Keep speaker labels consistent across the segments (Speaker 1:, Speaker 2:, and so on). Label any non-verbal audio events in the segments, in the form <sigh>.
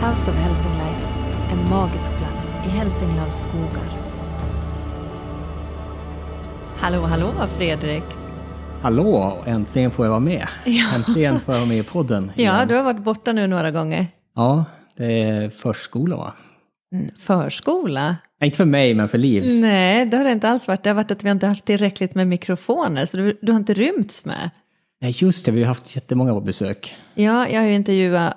Speaker 1: House of Helsinglight. En magisk plats i Hälsinglands skogar. Hallå, hallå Fredrik!
Speaker 2: Hallå, äntligen får jag vara
Speaker 1: <laughs>
Speaker 2: med. Äntligen får jag vara med i podden.
Speaker 1: Ja, du har varit borta nu några gånger.
Speaker 2: Ja, det är förskola va?
Speaker 1: Mm, Förskola?
Speaker 2: Nej, inte för mig, men för Livs.
Speaker 1: Nej, det har det inte alls varit. Det har varit att vi inte haft tillräckligt med mikrofoner, så du, du har inte rymts med.
Speaker 2: Nej, just det, vi har haft jättemånga på besök.
Speaker 1: Ja, jag har ju intervjuat,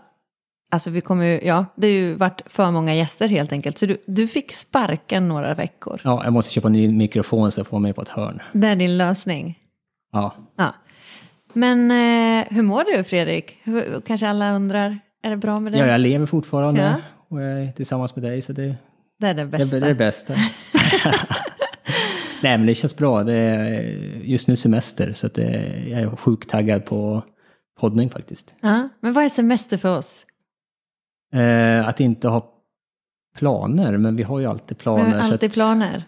Speaker 1: alltså vi kommer ju, ja, det har ju varit för många gäster helt enkelt, så du, du fick sparken några veckor.
Speaker 2: Ja, jag måste köpa en ny mikrofon så jag får vara med på ett hörn.
Speaker 1: Det är din lösning.
Speaker 2: Ja,
Speaker 1: Ja. Men eh, hur mår du Fredrik? Hur, kanske alla undrar, är det bra med dig?
Speaker 2: ja jag lever fortfarande
Speaker 1: Ja.
Speaker 2: och jag är tillsammans med dig, så det,
Speaker 1: Det är det
Speaker 2: det
Speaker 1: bästa.
Speaker 2: är det
Speaker 1: <laughs>
Speaker 2: bästa. <laughs> Nej, men det känns bra. Det är just nu semester, så att det, jag är sjukt taggad på poddning faktiskt.
Speaker 1: Ja. Men vad är semester för oss?
Speaker 2: Eh, att inte ha planer, men vi har ju alltid
Speaker 1: Vi
Speaker 2: planer.
Speaker 1: har
Speaker 2: så att-
Speaker 1: alltid planer.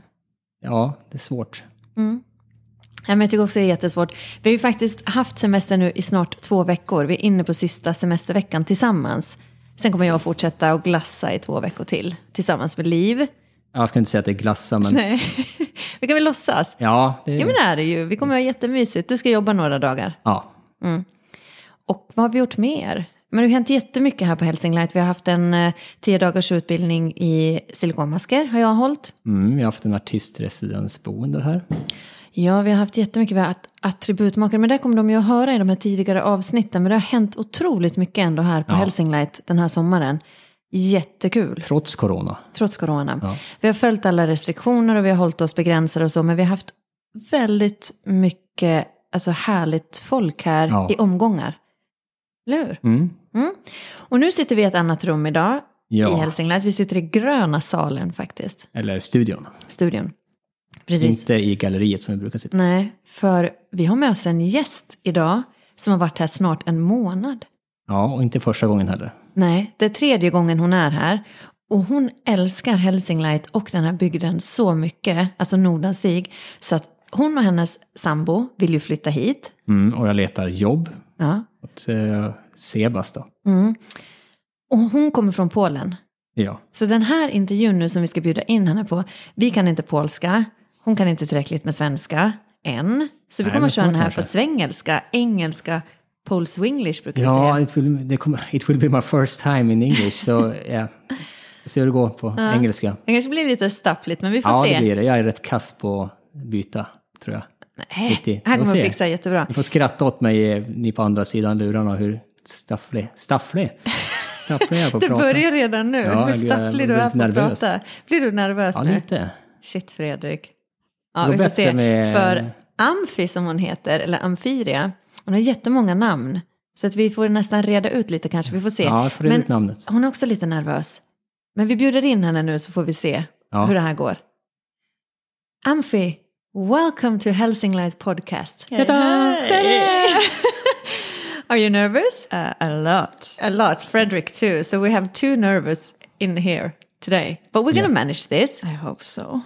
Speaker 2: Ja, det är svårt.
Speaker 1: Ja, men jag tycker också det är jättesvårt. Vi har ju faktiskt haft semester nu i snart två veckor. Vi är inne på sista semesterveckan tillsammans. Sen kommer jag att fortsätta och glassa i två veckor till tillsammans med Liv.
Speaker 2: Jag ska inte säga att det är glassa, men
Speaker 1: Nej, <laughs> vi kan väl låtsas.
Speaker 2: ja, det
Speaker 1: Ja, men det är det ju. Vi kommer att ha jättemysigt. Du ska jobba några dagar.
Speaker 2: ja.
Speaker 1: Och vad har vi gjort mer? Men det har hänt jättemycket här på Hälsinglight. Vi har haft en eh, tio dagars utbildning i silikonmasker, har jag hållit.
Speaker 2: Mm, vi har haft en artistresidensboende här.
Speaker 1: Ja, vi har haft jättemycket vi har att- attributmakare, men det kommer de ju att höra i de här tidigare avsnitten. Men det har hänt otroligt mycket ändå här på Hälsinglight den här sommaren. Jättekul,
Speaker 2: Trots corona.
Speaker 1: trots corona. Vi har följt alla restriktioner och vi har hållit oss begränsade och så, men vi har haft väldigt mycket alltså härligt folk här
Speaker 2: Ja.
Speaker 1: i omgångar. Eller hur?
Speaker 2: Mm.
Speaker 1: Mm. Och nu sitter vi i ett annat rum idag i
Speaker 2: Ja,
Speaker 1: Hälsingland. Vi sitter i gröna salen faktiskt,
Speaker 2: eller studion.
Speaker 1: studion. Precis.
Speaker 2: Inte i galleriet som vi brukar sitta.
Speaker 1: Nej, för vi har med oss en gäst idag som har varit här snart en månad.
Speaker 2: Ja, och inte första gången heller.
Speaker 1: Nej, det är tredje gången hon är här. Och hon älskar Hälsinglight och den här bygden så mycket, alltså Nordanstig, så att hon och hennes sambo vill ju flytta hit.
Speaker 2: Mm, och jag letar jobb
Speaker 1: Ja.
Speaker 2: åt eh, Sebas då.
Speaker 1: Mm. Och hon kommer från Polen.
Speaker 2: Ja.
Speaker 1: Så den här intervjun nu som vi ska bjuda in henne på, vi kan inte polska, hon kan inte tillräckligt med svenska än. Så vi
Speaker 2: Nej,
Speaker 1: kommer
Speaker 2: men
Speaker 1: att köra den
Speaker 2: snart
Speaker 1: här på
Speaker 2: kanske.
Speaker 1: svengelska, engelska, polswinglish brukar vi
Speaker 2: Ja,
Speaker 1: säga.
Speaker 2: it will, det kommer, it will be my first time in English.
Speaker 1: <laughs>
Speaker 2: Så yeah. se hur det går på engelska.
Speaker 1: Det kanske blir lite stappligt, men vi får
Speaker 2: Ja, det
Speaker 1: se.
Speaker 2: blir det. Jag är rätt kass på att byta, tror jag.
Speaker 1: Nej,
Speaker 2: riktigt.
Speaker 1: här
Speaker 2: Vi
Speaker 1: kommer
Speaker 2: får
Speaker 1: vi
Speaker 2: se.
Speaker 1: fixa jättebra.
Speaker 2: Ni får skratta åt mig, eh, ni på andra sidan lurarna, hur stafflig, stafflig, stafflig
Speaker 1: <laughs>
Speaker 2: jag är på att
Speaker 1: Det
Speaker 2: prata.
Speaker 1: börjar redan nu,
Speaker 2: Ja,
Speaker 1: hur
Speaker 2: jag blir-
Speaker 1: stafflig du
Speaker 2: jag
Speaker 1: är på
Speaker 2: blir
Speaker 1: att
Speaker 2: nervös.
Speaker 1: prata. Blir du nervös
Speaker 2: Ja,
Speaker 1: nu?
Speaker 2: lite.
Speaker 1: Shit Fredrik. Ja,
Speaker 2: Det går
Speaker 1: vi får
Speaker 2: bättre
Speaker 1: se.
Speaker 2: med-
Speaker 1: För Amfi som hon heter, eller Amfiria, hon har jättemånga namn. Så att vi får nästan reda ut lite kanske, vi får se.
Speaker 2: Ja, jag får reda
Speaker 1: Men
Speaker 2: ut namnet.
Speaker 1: hon är också lite nervös. Men vi bjuder in henne nu så får vi se
Speaker 2: Ja.
Speaker 1: hur det här går. Amfi, welcome to Helsinglight podcast. Are you nervous?
Speaker 3: Uh, a lot.
Speaker 1: A lot, Frederick too. So we have two nervous in here today. But we're going to manage this.
Speaker 3: I hope so.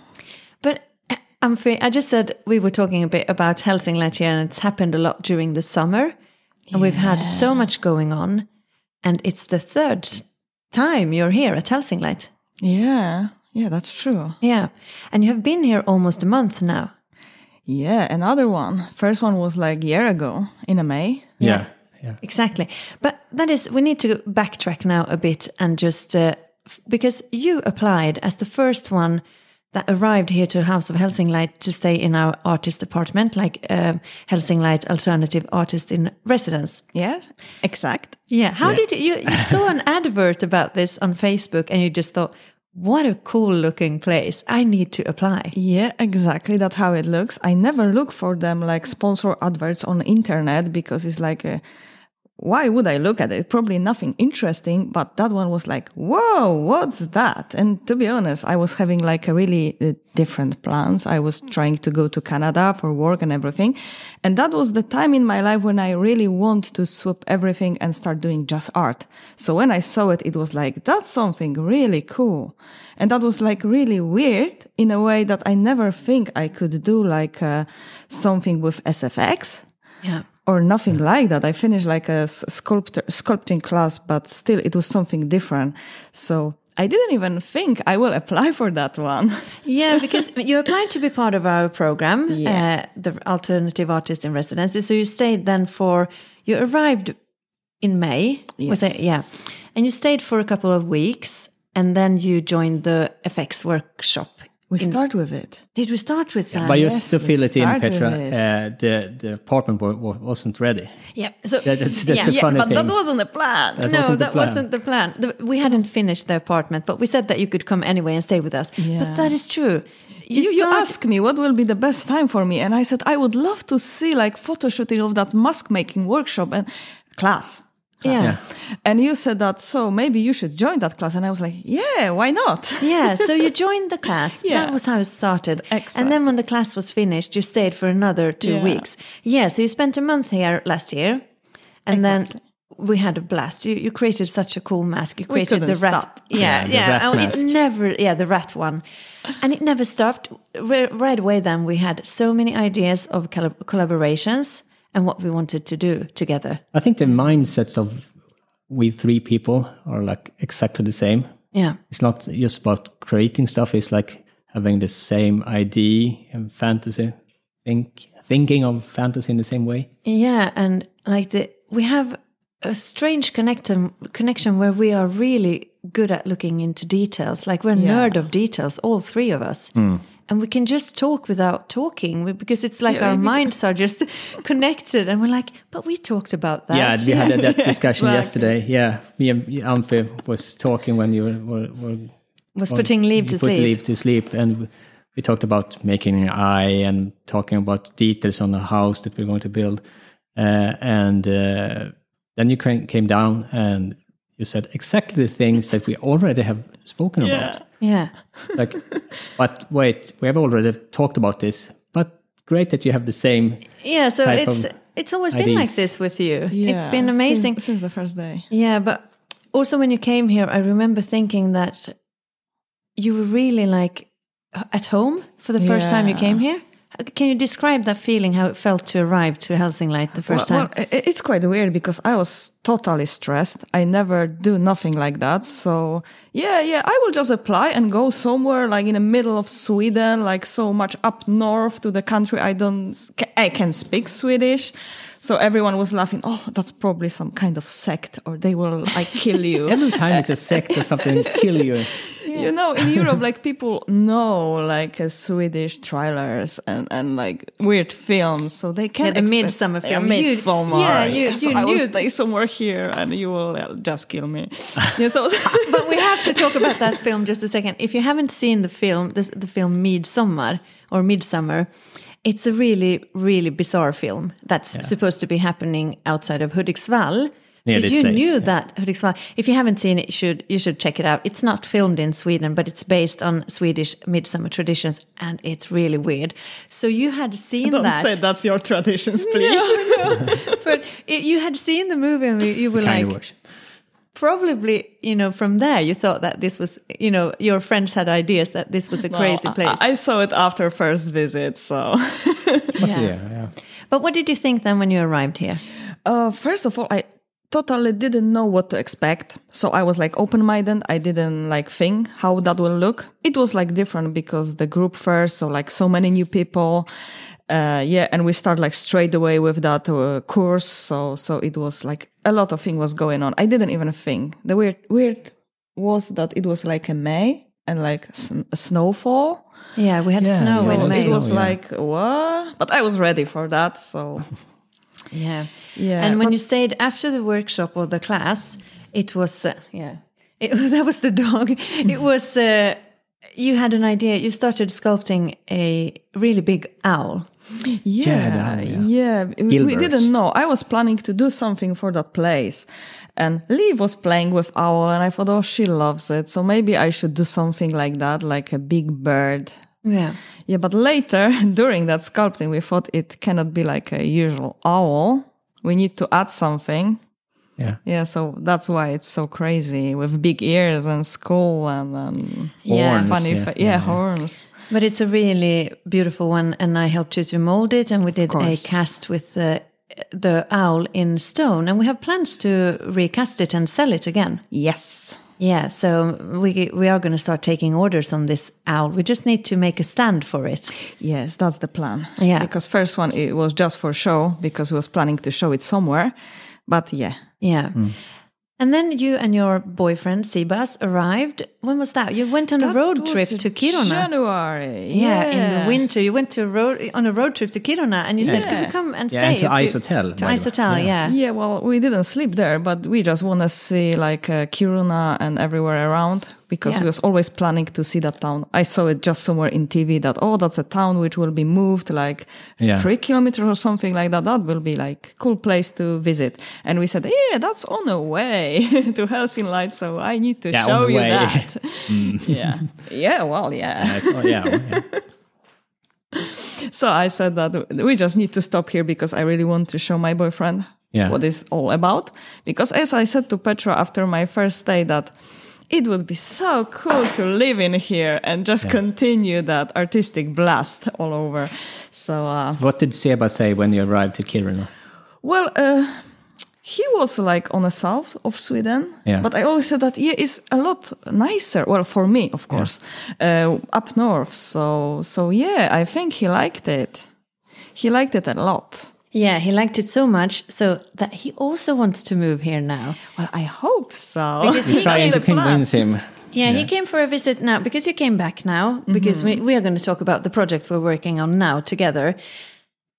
Speaker 1: But uh, Amphi, I just said we were talking a bit about Helsingland here, and it's happened a lot during the summer, and we've had so much going on, and it's the third time you're here at Helsingland.
Speaker 3: Yeah, yeah, that's true.
Speaker 1: Yeah, and you have been here almost a month now.
Speaker 3: Yeah, another one. First one was like a year ago in a May.
Speaker 2: Yeah. yeah.
Speaker 1: Exactly, but that is we need to backtrack now a bit and just uh, f- because you applied as the first one that arrived here to House of Helsinglight to stay in our artist department, like uh, Helsinglight Alternative Artist in Residence.
Speaker 3: Yeah, exact.
Speaker 1: Yeah. How did you, you
Speaker 2: <laughs>
Speaker 1: you saw an advert about this on Facebook and you just thought, what a cool looking place. I need to apply.
Speaker 3: Yeah, exactly. That's how it looks. I never look for them like sponsor adverts on internet because it's like, uh why would I look at it? Probably nothing interesting. But that one was like, whoa, what's that? And to be honest, I was having like a really uh, different plans. I was trying to go to Canada for work and everything. And that was the time in my life when I really want to swoop everything and start doing just art. So when I saw it, it was like, that's something really cool. And that was like really weird in a way that I never think I could do like uh, something with SFX
Speaker 1: Yeah.
Speaker 3: or nothing like that. I finished like a s- sculptor, sculpting class, but still it was something different. So I didn't even think I will apply for that one. <laughs>
Speaker 1: Yeah, because you applied to be part of our program,
Speaker 3: Yeah.
Speaker 1: uh, the Alternative Artist in Residency. So you stayed then for, you arrived in May, was it?
Speaker 3: Yes.
Speaker 1: Yeah. And you stayed for a couple of weeks and then you joined the FX workshop.
Speaker 3: We start with it.
Speaker 1: Did we start with that?
Speaker 2: But
Speaker 3: yes,
Speaker 2: just to
Speaker 3: we
Speaker 2: fill it in,
Speaker 3: start with
Speaker 2: Petra,
Speaker 3: it.
Speaker 2: uh, the, the apartment wa- wa- wasn't ready.
Speaker 1: yeah. So
Speaker 2: that's- that's a
Speaker 1: yeah.
Speaker 2: The funny
Speaker 3: but that
Speaker 2: thing-
Speaker 3: wasn't a plan.
Speaker 2: That
Speaker 1: no,
Speaker 2: wasn't the
Speaker 1: that
Speaker 2: plan.
Speaker 1: wasn't the plan. The- we hadn't finished the apartment, but we said that you could come anyway and stay with us.
Speaker 3: Yeah.
Speaker 1: But that is true.
Speaker 3: you, you
Speaker 1: start-
Speaker 3: asked me what will be the best time for me and i said i would love to see like photo shooting of that mask making workshop and class
Speaker 1: yeah.
Speaker 3: and you said that so maybe you should join that class and i was like yeah why not
Speaker 1: yeah, so you joined the class.
Speaker 3: <laughs> Yeah.
Speaker 1: That was how it started. And
Speaker 3: Exactly.
Speaker 1: then when the class was finished, you stayed for another two
Speaker 3: Yeah.
Speaker 1: weeks. Yeah, so you spent a month here last year. And then we had a blast. You, you created such a cool mask. You created the
Speaker 3: couldn't
Speaker 1: rat.
Speaker 3: stop.
Speaker 1: Yeah, yeah.
Speaker 2: the rat
Speaker 1: Oh,
Speaker 2: mask.
Speaker 1: it never, yeah, the rat one. And it never stopped. Ri- Right away, then we had so many ideas of collab- collaborations and what we wanted to do together.
Speaker 2: I think the mindsets of we three people are like exactly the same.
Speaker 1: Yeah.
Speaker 2: It's not just about creating stuff. It's like having the same idea and fantasy, think thinking of fantasy in the same way.
Speaker 1: Yeah, and like the we have a strange connection connection where we are really good at looking into details. Like we're nerd of details, all three of us.
Speaker 2: Hmm.
Speaker 1: And we can just talk without talking we- because it's like our minds are just <laughs> connected, and we're like, "But we talked about that."
Speaker 2: Yeah, we had
Speaker 1: <laughs>
Speaker 2: that discussion
Speaker 3: exactly.
Speaker 2: yesterday. Yeah, me and Amfi was talking when you were, were, were
Speaker 1: was putting leave to
Speaker 2: put
Speaker 1: sleep.
Speaker 2: leave to sleep, and we talked about making an eye and talking about details on the house that we're going to build. Uh, and uh, then you came came down and you said exactly the things that we already have spoken about.
Speaker 1: Yeah,
Speaker 2: Like, <laughs> but wait, we have already talked about this. But great that you have the same.
Speaker 1: yeah. So
Speaker 2: Type
Speaker 1: it's
Speaker 2: of
Speaker 1: it's always been like
Speaker 2: ideas.
Speaker 1: this with you. it's
Speaker 3: Yeah,
Speaker 1: been amazing.
Speaker 3: since, since the first day
Speaker 1: Yeah, but also when you came here, I remember thinking that you were really like h- at home for the first time you
Speaker 3: Yeah.
Speaker 1: came here. H- Can you describe that feeling, how it felt to arrive to Helsingland the first
Speaker 3: well,
Speaker 1: time?
Speaker 3: well, i- it's quite weird because I was totally stressed. I never do nothing like that. So yeah, yeah, I will just apply and go somewhere like in the middle of Sweden, like so much up north to the country. I don't, s- ca- I can speak Swedish. So everyone was laughing. Oh, that's probably some kind of sect or they will like kill
Speaker 1: <laughs>
Speaker 3: you.
Speaker 2: Every time it's a sect or something kill you.
Speaker 3: You know, in Europe, like people know like uh, Swedish trailers and, and like weird films, so they can
Speaker 1: Yeah, the
Speaker 3: expect-
Speaker 1: midsummer
Speaker 3: Yeah,
Speaker 1: film. You-
Speaker 3: midsummer.
Speaker 1: yeah, you-
Speaker 3: So
Speaker 1: you
Speaker 3: I will
Speaker 1: knew-
Speaker 3: stay somewhere here, and you will uh, just
Speaker 1: <laughs>
Speaker 3: kill me. yeah, so <laughs>
Speaker 1: but we have to talk about that film just a second. If you haven't seen the film, this, the film Midsummer or Midsummer, it's a really, really bizarre film that's supposed to be happening outside of Hudiksvall.
Speaker 2: Near
Speaker 1: so
Speaker 2: this
Speaker 1: you
Speaker 2: place,
Speaker 1: knew
Speaker 2: yeah.
Speaker 1: that Hudiksvall. If you haven't seen it, you should you should check it out. It's not filmed in Sweden, but it's based on Swedish midsummer traditions, and it's really weird. So you had seen
Speaker 3: don't
Speaker 1: that,
Speaker 3: say that's
Speaker 1: <laughs>
Speaker 3: your traditions, please.
Speaker 1: but it, you had seen the movie, and you, you <laughs> were
Speaker 2: Kind
Speaker 1: like,
Speaker 2: of works.
Speaker 1: probably you know from there you thought that this was you know your friends had ideas that this was a crazy
Speaker 3: Well, I-
Speaker 1: place
Speaker 3: Uh, I, saw it after first visit, so.
Speaker 2: Yeah,
Speaker 1: Yeah.
Speaker 2: yeah.
Speaker 1: but what did you think then when you arrived here
Speaker 3: Uh, first of all, I totally didn't know what to expect. So I was like open minded. I didn't like think how that will look. It was like different because the group first, so like so many new people. Uh, yeah, and we start like straight away with that uh, course. So, so it was like a lot of thing was going on. I didn't even think. The weird, weird was that it was like a May and like sn- a snowfall.
Speaker 1: yeah we had
Speaker 2: Yeah,
Speaker 1: snow
Speaker 3: So
Speaker 2: it
Speaker 1: Oh, in
Speaker 2: was
Speaker 1: may
Speaker 3: it was
Speaker 2: yeah.
Speaker 3: like, what? But I was ready for that. So
Speaker 1: yeah
Speaker 3: Yeah,
Speaker 1: and when
Speaker 3: but-
Speaker 1: you stayed after the workshop or the class it was uh, <laughs> yeah it, that was the
Speaker 3: <laughs>
Speaker 1: dog it was uh, you had an idea you started sculpting a really big
Speaker 3: <gasps>
Speaker 1: owl
Speaker 3: Yeah,
Speaker 2: down,
Speaker 3: yeah. We, we
Speaker 2: Gilbert.
Speaker 3: didn't know. I was planning to do something for that place. And Lee was playing with owl and I thought, oh, she loves it. So maybe I should do something like that, like a big bird.
Speaker 1: yeah
Speaker 3: Yeah, but later <laughs> during that sculpting, we thought it cannot be like a usual owl. We need to add something.
Speaker 2: yeah.
Speaker 3: Yeah, so that's why it's so crazy with big ears and skull and, and
Speaker 1: Yeah.
Speaker 2: Horns,
Speaker 3: funny,
Speaker 2: yeah,
Speaker 3: fa- yeah,
Speaker 2: yeah, yeah.
Speaker 3: horns.
Speaker 1: But it's a really beautiful one, and I helped you to mold it, and we did a
Speaker 3: course.
Speaker 1: cast with the the owl in stone, and we have plans to recast it and sell it again.
Speaker 3: Yes.
Speaker 1: Yeah, so we we are going to start taking orders on this owl. We just need to make a stand for it.
Speaker 3: Yes, that's the plan.
Speaker 1: Yeah.
Speaker 3: Because first one it was just for show because we was planning to show it somewhere. But yeah,
Speaker 1: Yeah.
Speaker 2: Hmm.
Speaker 1: And then you and your boyfriend Sibas arrived. When was that? You went on a
Speaker 3: That
Speaker 1: road
Speaker 3: was
Speaker 1: trip to Kiruna.
Speaker 3: January.
Speaker 1: Yeah, in the winter, you went to a road on a road trip to Kiruna, and you said, "Could you come and
Speaker 2: Yeah,
Speaker 1: stay?"
Speaker 2: and to
Speaker 1: if you-
Speaker 2: Ice Hotel,
Speaker 1: To
Speaker 2: by
Speaker 1: Ice
Speaker 2: the way.
Speaker 1: Hotel, yeah.
Speaker 3: Yeah, well, we didn't sleep there, but we just want to see like uh, Kiruna and everywhere around because
Speaker 1: Yeah.
Speaker 3: we was always planning to see that town. I saw it just somewhere in TV that oh, that's a town which will be moved like
Speaker 2: Yeah.
Speaker 3: three kilometers or something like that. That will be like cool place to visit. And we said, yeah, that's on the way <laughs> to Helsinki, so I need to
Speaker 2: Yeah, on
Speaker 3: show
Speaker 2: the
Speaker 3: you
Speaker 2: way. <laughs> Mm.
Speaker 3: that. <laughs> yeah, yeah, well, yeah.
Speaker 2: That's- oh,
Speaker 1: <laughs>
Speaker 2: yeah, yeah.
Speaker 3: So I said that we just need to stop here because I really want to show my boyfriend
Speaker 2: Yeah.
Speaker 3: what it's all about. Because as I said to Petra after my first day that it would be so cool to live in here and just continue that artistic blast all over. So, uh,
Speaker 2: What did Seba say when you arrived to Kiruna?
Speaker 3: well, uh, he was like on the south of Sweden,
Speaker 2: Yeah.
Speaker 3: but I always said that yeah, it's a lot nicer. Well, for me, of course, uh, up north. So, so yeah, I think he liked it. He liked it a lot.
Speaker 1: Yeah, he liked it so much so that he also wants to move here now.
Speaker 3: Well, I hope so.
Speaker 1: Because he
Speaker 2: Trying
Speaker 1: came,
Speaker 2: to
Speaker 3: the plan.
Speaker 2: convince him.
Speaker 1: yeah, he came for a visit now because you came back now because we, we are going to talk about the project we're working on now together,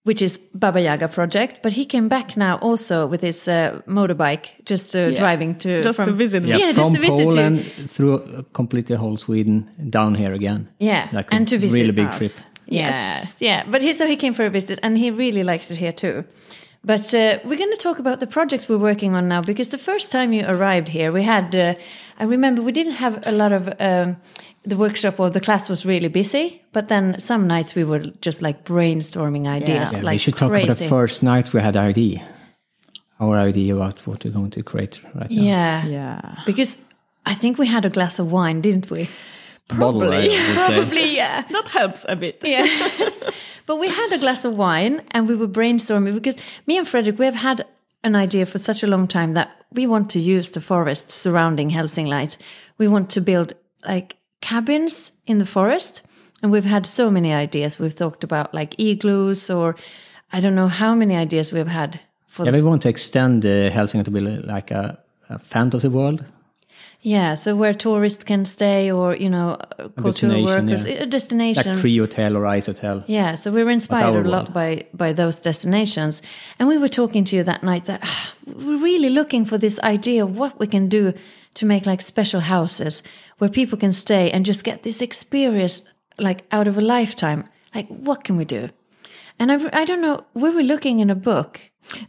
Speaker 1: which is Baba Yaga project. But he came back now also with his uh, motorbike, just uh,
Speaker 3: Yeah.
Speaker 1: driving to
Speaker 3: Just to visit me.
Speaker 2: Yeah,
Speaker 1: Yeah,
Speaker 2: from
Speaker 1: just to visit
Speaker 2: Poland
Speaker 1: you.
Speaker 2: through uh, completely whole Sweden down here again.
Speaker 1: Yeah,
Speaker 2: like
Speaker 1: and
Speaker 2: a
Speaker 1: to visit
Speaker 2: really big
Speaker 1: us.
Speaker 2: trip.
Speaker 1: Yes. Yeah, but he, so he came for a visit and he really likes it here too. But uh, we're going to talk about the project we're working on now because the first time you arrived here, we had, uh, I remember we didn't have a lot of, um, the workshop or the class was really busy, but then some nights we were just like brainstorming ideas.
Speaker 3: Yeah,
Speaker 1: like
Speaker 2: we should talk
Speaker 1: crazy.
Speaker 2: about the first night we had ID. Our idea about what we're going to create right now.
Speaker 1: Yeah.
Speaker 3: <laughs> Yeah.
Speaker 1: Because I think we had a glass of wine, didn't we?
Speaker 2: Bottle, I would say.
Speaker 1: <laughs> Probably, yeah.
Speaker 3: That helps a bit.
Speaker 1: Yes. but we had a glass of wine and we were brainstorming because me and Frederick, we have had an idea for such a long time that we want to use the forest surrounding Helsinglight. We want to build like cabins in the forest. And we've had so many ideas. We've talked about like igloos or I don't know how many ideas we've had for
Speaker 2: Yeah,
Speaker 1: the.
Speaker 2: we want to extend uh, Helsinki to be li- like a, a fantasy world.
Speaker 1: Yeah. So where tourists can stay or, you know, uh, cultural
Speaker 2: destination,
Speaker 1: workers,
Speaker 2: yeah.
Speaker 1: a destination.
Speaker 2: Like Free Hotel or Ice Hotel.
Speaker 1: Yeah, so we were inspired
Speaker 2: our
Speaker 1: a lot by by those destinations, and we were talking to you that night that "Ah, we're really looking for this idea of what we can do to make like special houses where people can stay and just get this experience like out of a lifetime. Like, what can we do? And I, I don't know, we were looking in a book.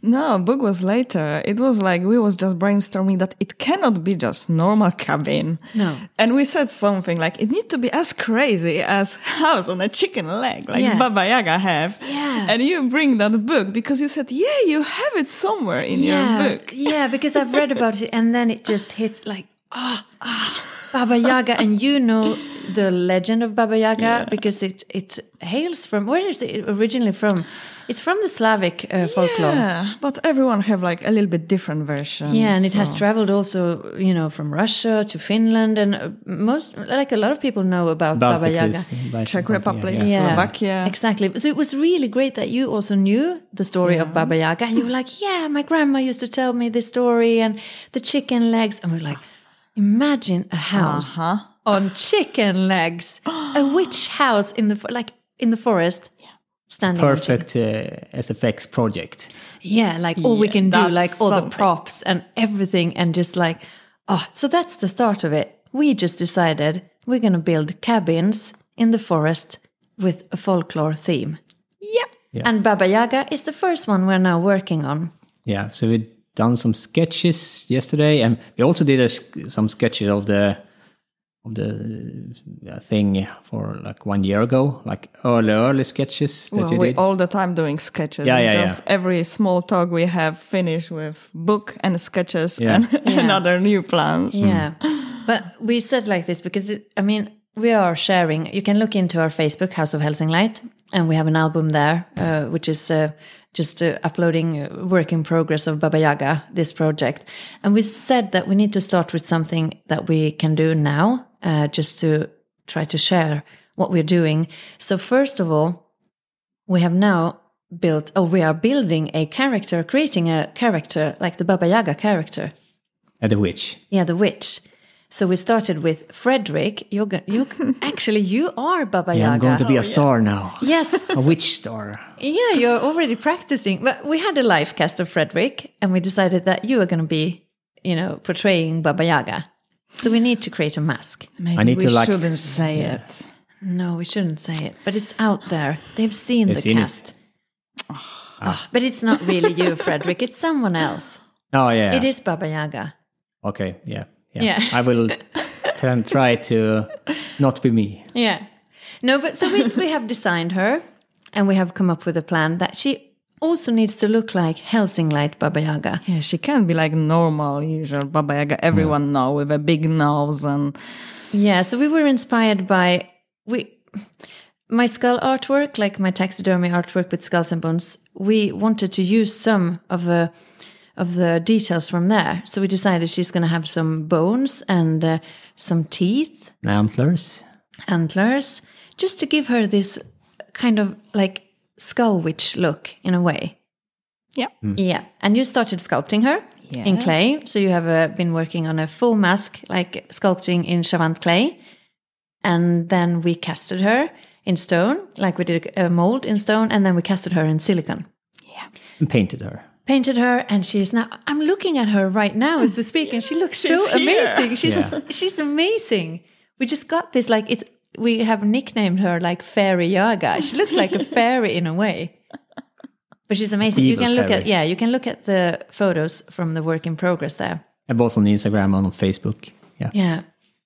Speaker 3: No, book was later. It was like we was just brainstorming that it cannot be just normal cabin.
Speaker 1: No.
Speaker 3: And we said something like it need to be as crazy as <laughs> house on a chicken leg, like
Speaker 1: Yeah.
Speaker 3: Baba Yaga have.
Speaker 1: Yeah.
Speaker 3: And you bring that book because you said, yeah, you have it somewhere in your book.
Speaker 1: yeah, because I've read about it, and then it just hit like, ah, ah, Baba Yaga, and you know the legend of Baba Yaga because it it hails from where is it originally from? It's from the Slavic uh, folklore. Yeah.
Speaker 3: Yeah, but everyone have like a little bit different version.
Speaker 1: and it
Speaker 3: so-
Speaker 1: has traveled also, you know, from Russia to Finland, and uh, most, like a lot of people know about, Baba Yaga.
Speaker 2: Baltics, Baltic
Speaker 3: Czech
Speaker 2: Baltic,
Speaker 3: Republic,
Speaker 2: yeah.
Speaker 3: Slovakia.
Speaker 1: Exactly. So it was really great that you also knew the story of Baba Yaga. And you were like, yeah, my grandma used to tell me this story and the chicken legs. And we are like, imagine a house
Speaker 3: Uh-huh.
Speaker 1: on chicken legs, a
Speaker 3: <gasps>
Speaker 1: witch house in the, fo- like, in the forest. Standing on chicken-
Speaker 2: Perfect uh, SFX project.
Speaker 1: yeah, like all we
Speaker 3: Yeah,
Speaker 1: can do,
Speaker 3: that's
Speaker 1: like all the
Speaker 3: something.
Speaker 1: props and everything, and just like, oh, so that's the start of it. We just decided we're gonna build cabins in the forest with a folklore theme.
Speaker 3: Yeah.
Speaker 1: And Baba Yaga is the first one we're now working on.
Speaker 2: Yeah, so we done some sketches yesterday, and we also did a, sk- some sketches of the of the uh, thing for like one year ago, like early early sketches that
Speaker 3: Well,
Speaker 2: you
Speaker 3: we
Speaker 2: did.
Speaker 3: all the time doing sketches.
Speaker 2: Yeah,
Speaker 3: We
Speaker 2: yeah,
Speaker 3: just Every small talk we have finished with book and sketches
Speaker 2: Yeah.
Speaker 3: and, <laughs>
Speaker 1: Yeah.
Speaker 3: and other new plans.
Speaker 1: Yeah. But we said like this because, it, I mean, we are sharing. You can look into our Facebook, House of Helsinglight, and we have an album there, uh, which is uh, just uh, uploading uh, work in progress of Baba Yaga, this project. And we said that we need to start with something that we can do now, uh, just to try to share what we're doing. So first of all, we have now built, or we are building a character, creating a character like the Baba Yaga character.
Speaker 2: At the witch.
Speaker 1: Yeah, the witch. So we started with Frederick. You're go- you actually you are Baba
Speaker 2: Yeah,
Speaker 1: Yaga.
Speaker 2: I'm going to be a star now.
Speaker 1: yes,
Speaker 2: A witch star.
Speaker 1: yeah, you're already practicing. But we had a live cast of Frederick, and we decided that you are going to be, you know, portraying Baba Yaga. So we need to create a mask.
Speaker 3: Maybe
Speaker 2: need
Speaker 3: we
Speaker 2: to, like-
Speaker 3: shouldn't say it.
Speaker 1: No, we shouldn't say it, but it's out there. They've seen the
Speaker 2: seen it.
Speaker 1: cast. Ah, but it's not really you, Frederick. It's someone else.
Speaker 2: Oh yeah.
Speaker 1: It is Baba Yaga.
Speaker 2: Okay. Yeah. Yeah.
Speaker 1: Yeah.
Speaker 2: I will turn, try to not be me.
Speaker 1: Yeah. No, but so we, we have designed her and we have come up with a plan that she also needs to look like Helsing Light Baba Yaga.
Speaker 3: Yeah, she can't be like normal, usual Baba Yaga. Everyone know with a big nose and
Speaker 1: Yeah, so we were inspired by we my skull artwork, like my taxidermy artwork with skulls and bones. We wanted to use some of uh, of the details from there, so we decided she's going to have some bones and uh, some teeth,
Speaker 2: Antlers.
Speaker 1: antlers, just to give her this kind of like skull witch look in a way.
Speaker 3: yeah.
Speaker 2: Hmm.
Speaker 1: Yeah, and you started sculpting her in
Speaker 3: Yeah.
Speaker 1: clay. So you have uh, been working on a full mask, like sculpting in Chavant clay. And then we casted her in stone, like we did a mold in stone, and then we casted her in silicon.
Speaker 2: And painted her.
Speaker 1: Painted her, and she is now. I'm looking at her right now
Speaker 3: <laughs>
Speaker 1: as we speak, and she looks so
Speaker 3: she's here.
Speaker 1: amazing. She's
Speaker 2: Yeah.
Speaker 1: she's amazing. We just got this like it's. We have nicknamed her like Fairy Yaga. She looks
Speaker 3: <laughs>
Speaker 1: like a fairy in a way. But she's amazing. you
Speaker 2: Evil
Speaker 1: can look at
Speaker 2: fairy.
Speaker 1: yeah, you can look at the photos from the work in progress there.
Speaker 2: And both on Instagram and on Facebook. Yeah.
Speaker 1: Yeah.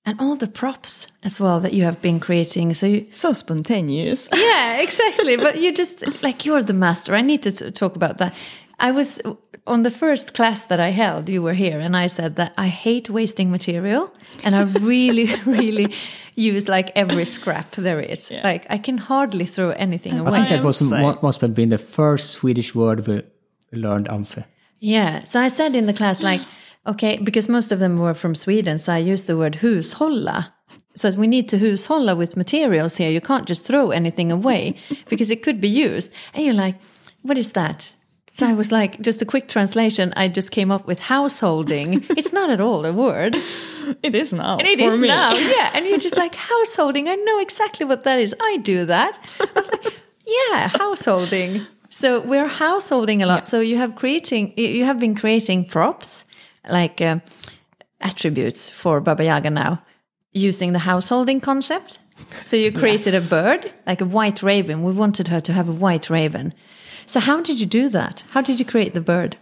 Speaker 1: And all the props as well that you have been creating. So you
Speaker 3: So spontaneous. <laughs>
Speaker 1: Yeah, exactly. but you just like you're the master. I need to t- talk about that. I was on the first class that I held, you were here, and I said that I hate wasting material and I really, <laughs> really use like every scrap there is. Like I can hardly throw anything
Speaker 2: I
Speaker 1: away.
Speaker 2: think that
Speaker 3: am
Speaker 2: was
Speaker 3: saying-
Speaker 2: what must have been the first Swedish word we we learned. Amfe.
Speaker 1: Yeah. So I said in the class, like, okay, because most of them were from Sweden, so I used the word hushålla. So we need to hushålla with materials here. You can't just throw anything away because it could be used. And you're like, what is that? So I was like, just a quick translation. I just came up with householding. It's not at all a word.
Speaker 3: It is now.
Speaker 1: It is
Speaker 3: for me.
Speaker 1: now, yeah. And you're just like householding. I know exactly what that is. I do that. I was like, yeah, householding. So we're householding a lot. So you have creating, you- you have been creating props like um attributes for Baba Yaga now, using the householding concept. So you created a bird, like a white raven. We wanted her to have a white raven. So how did you do that? How did you create the bird?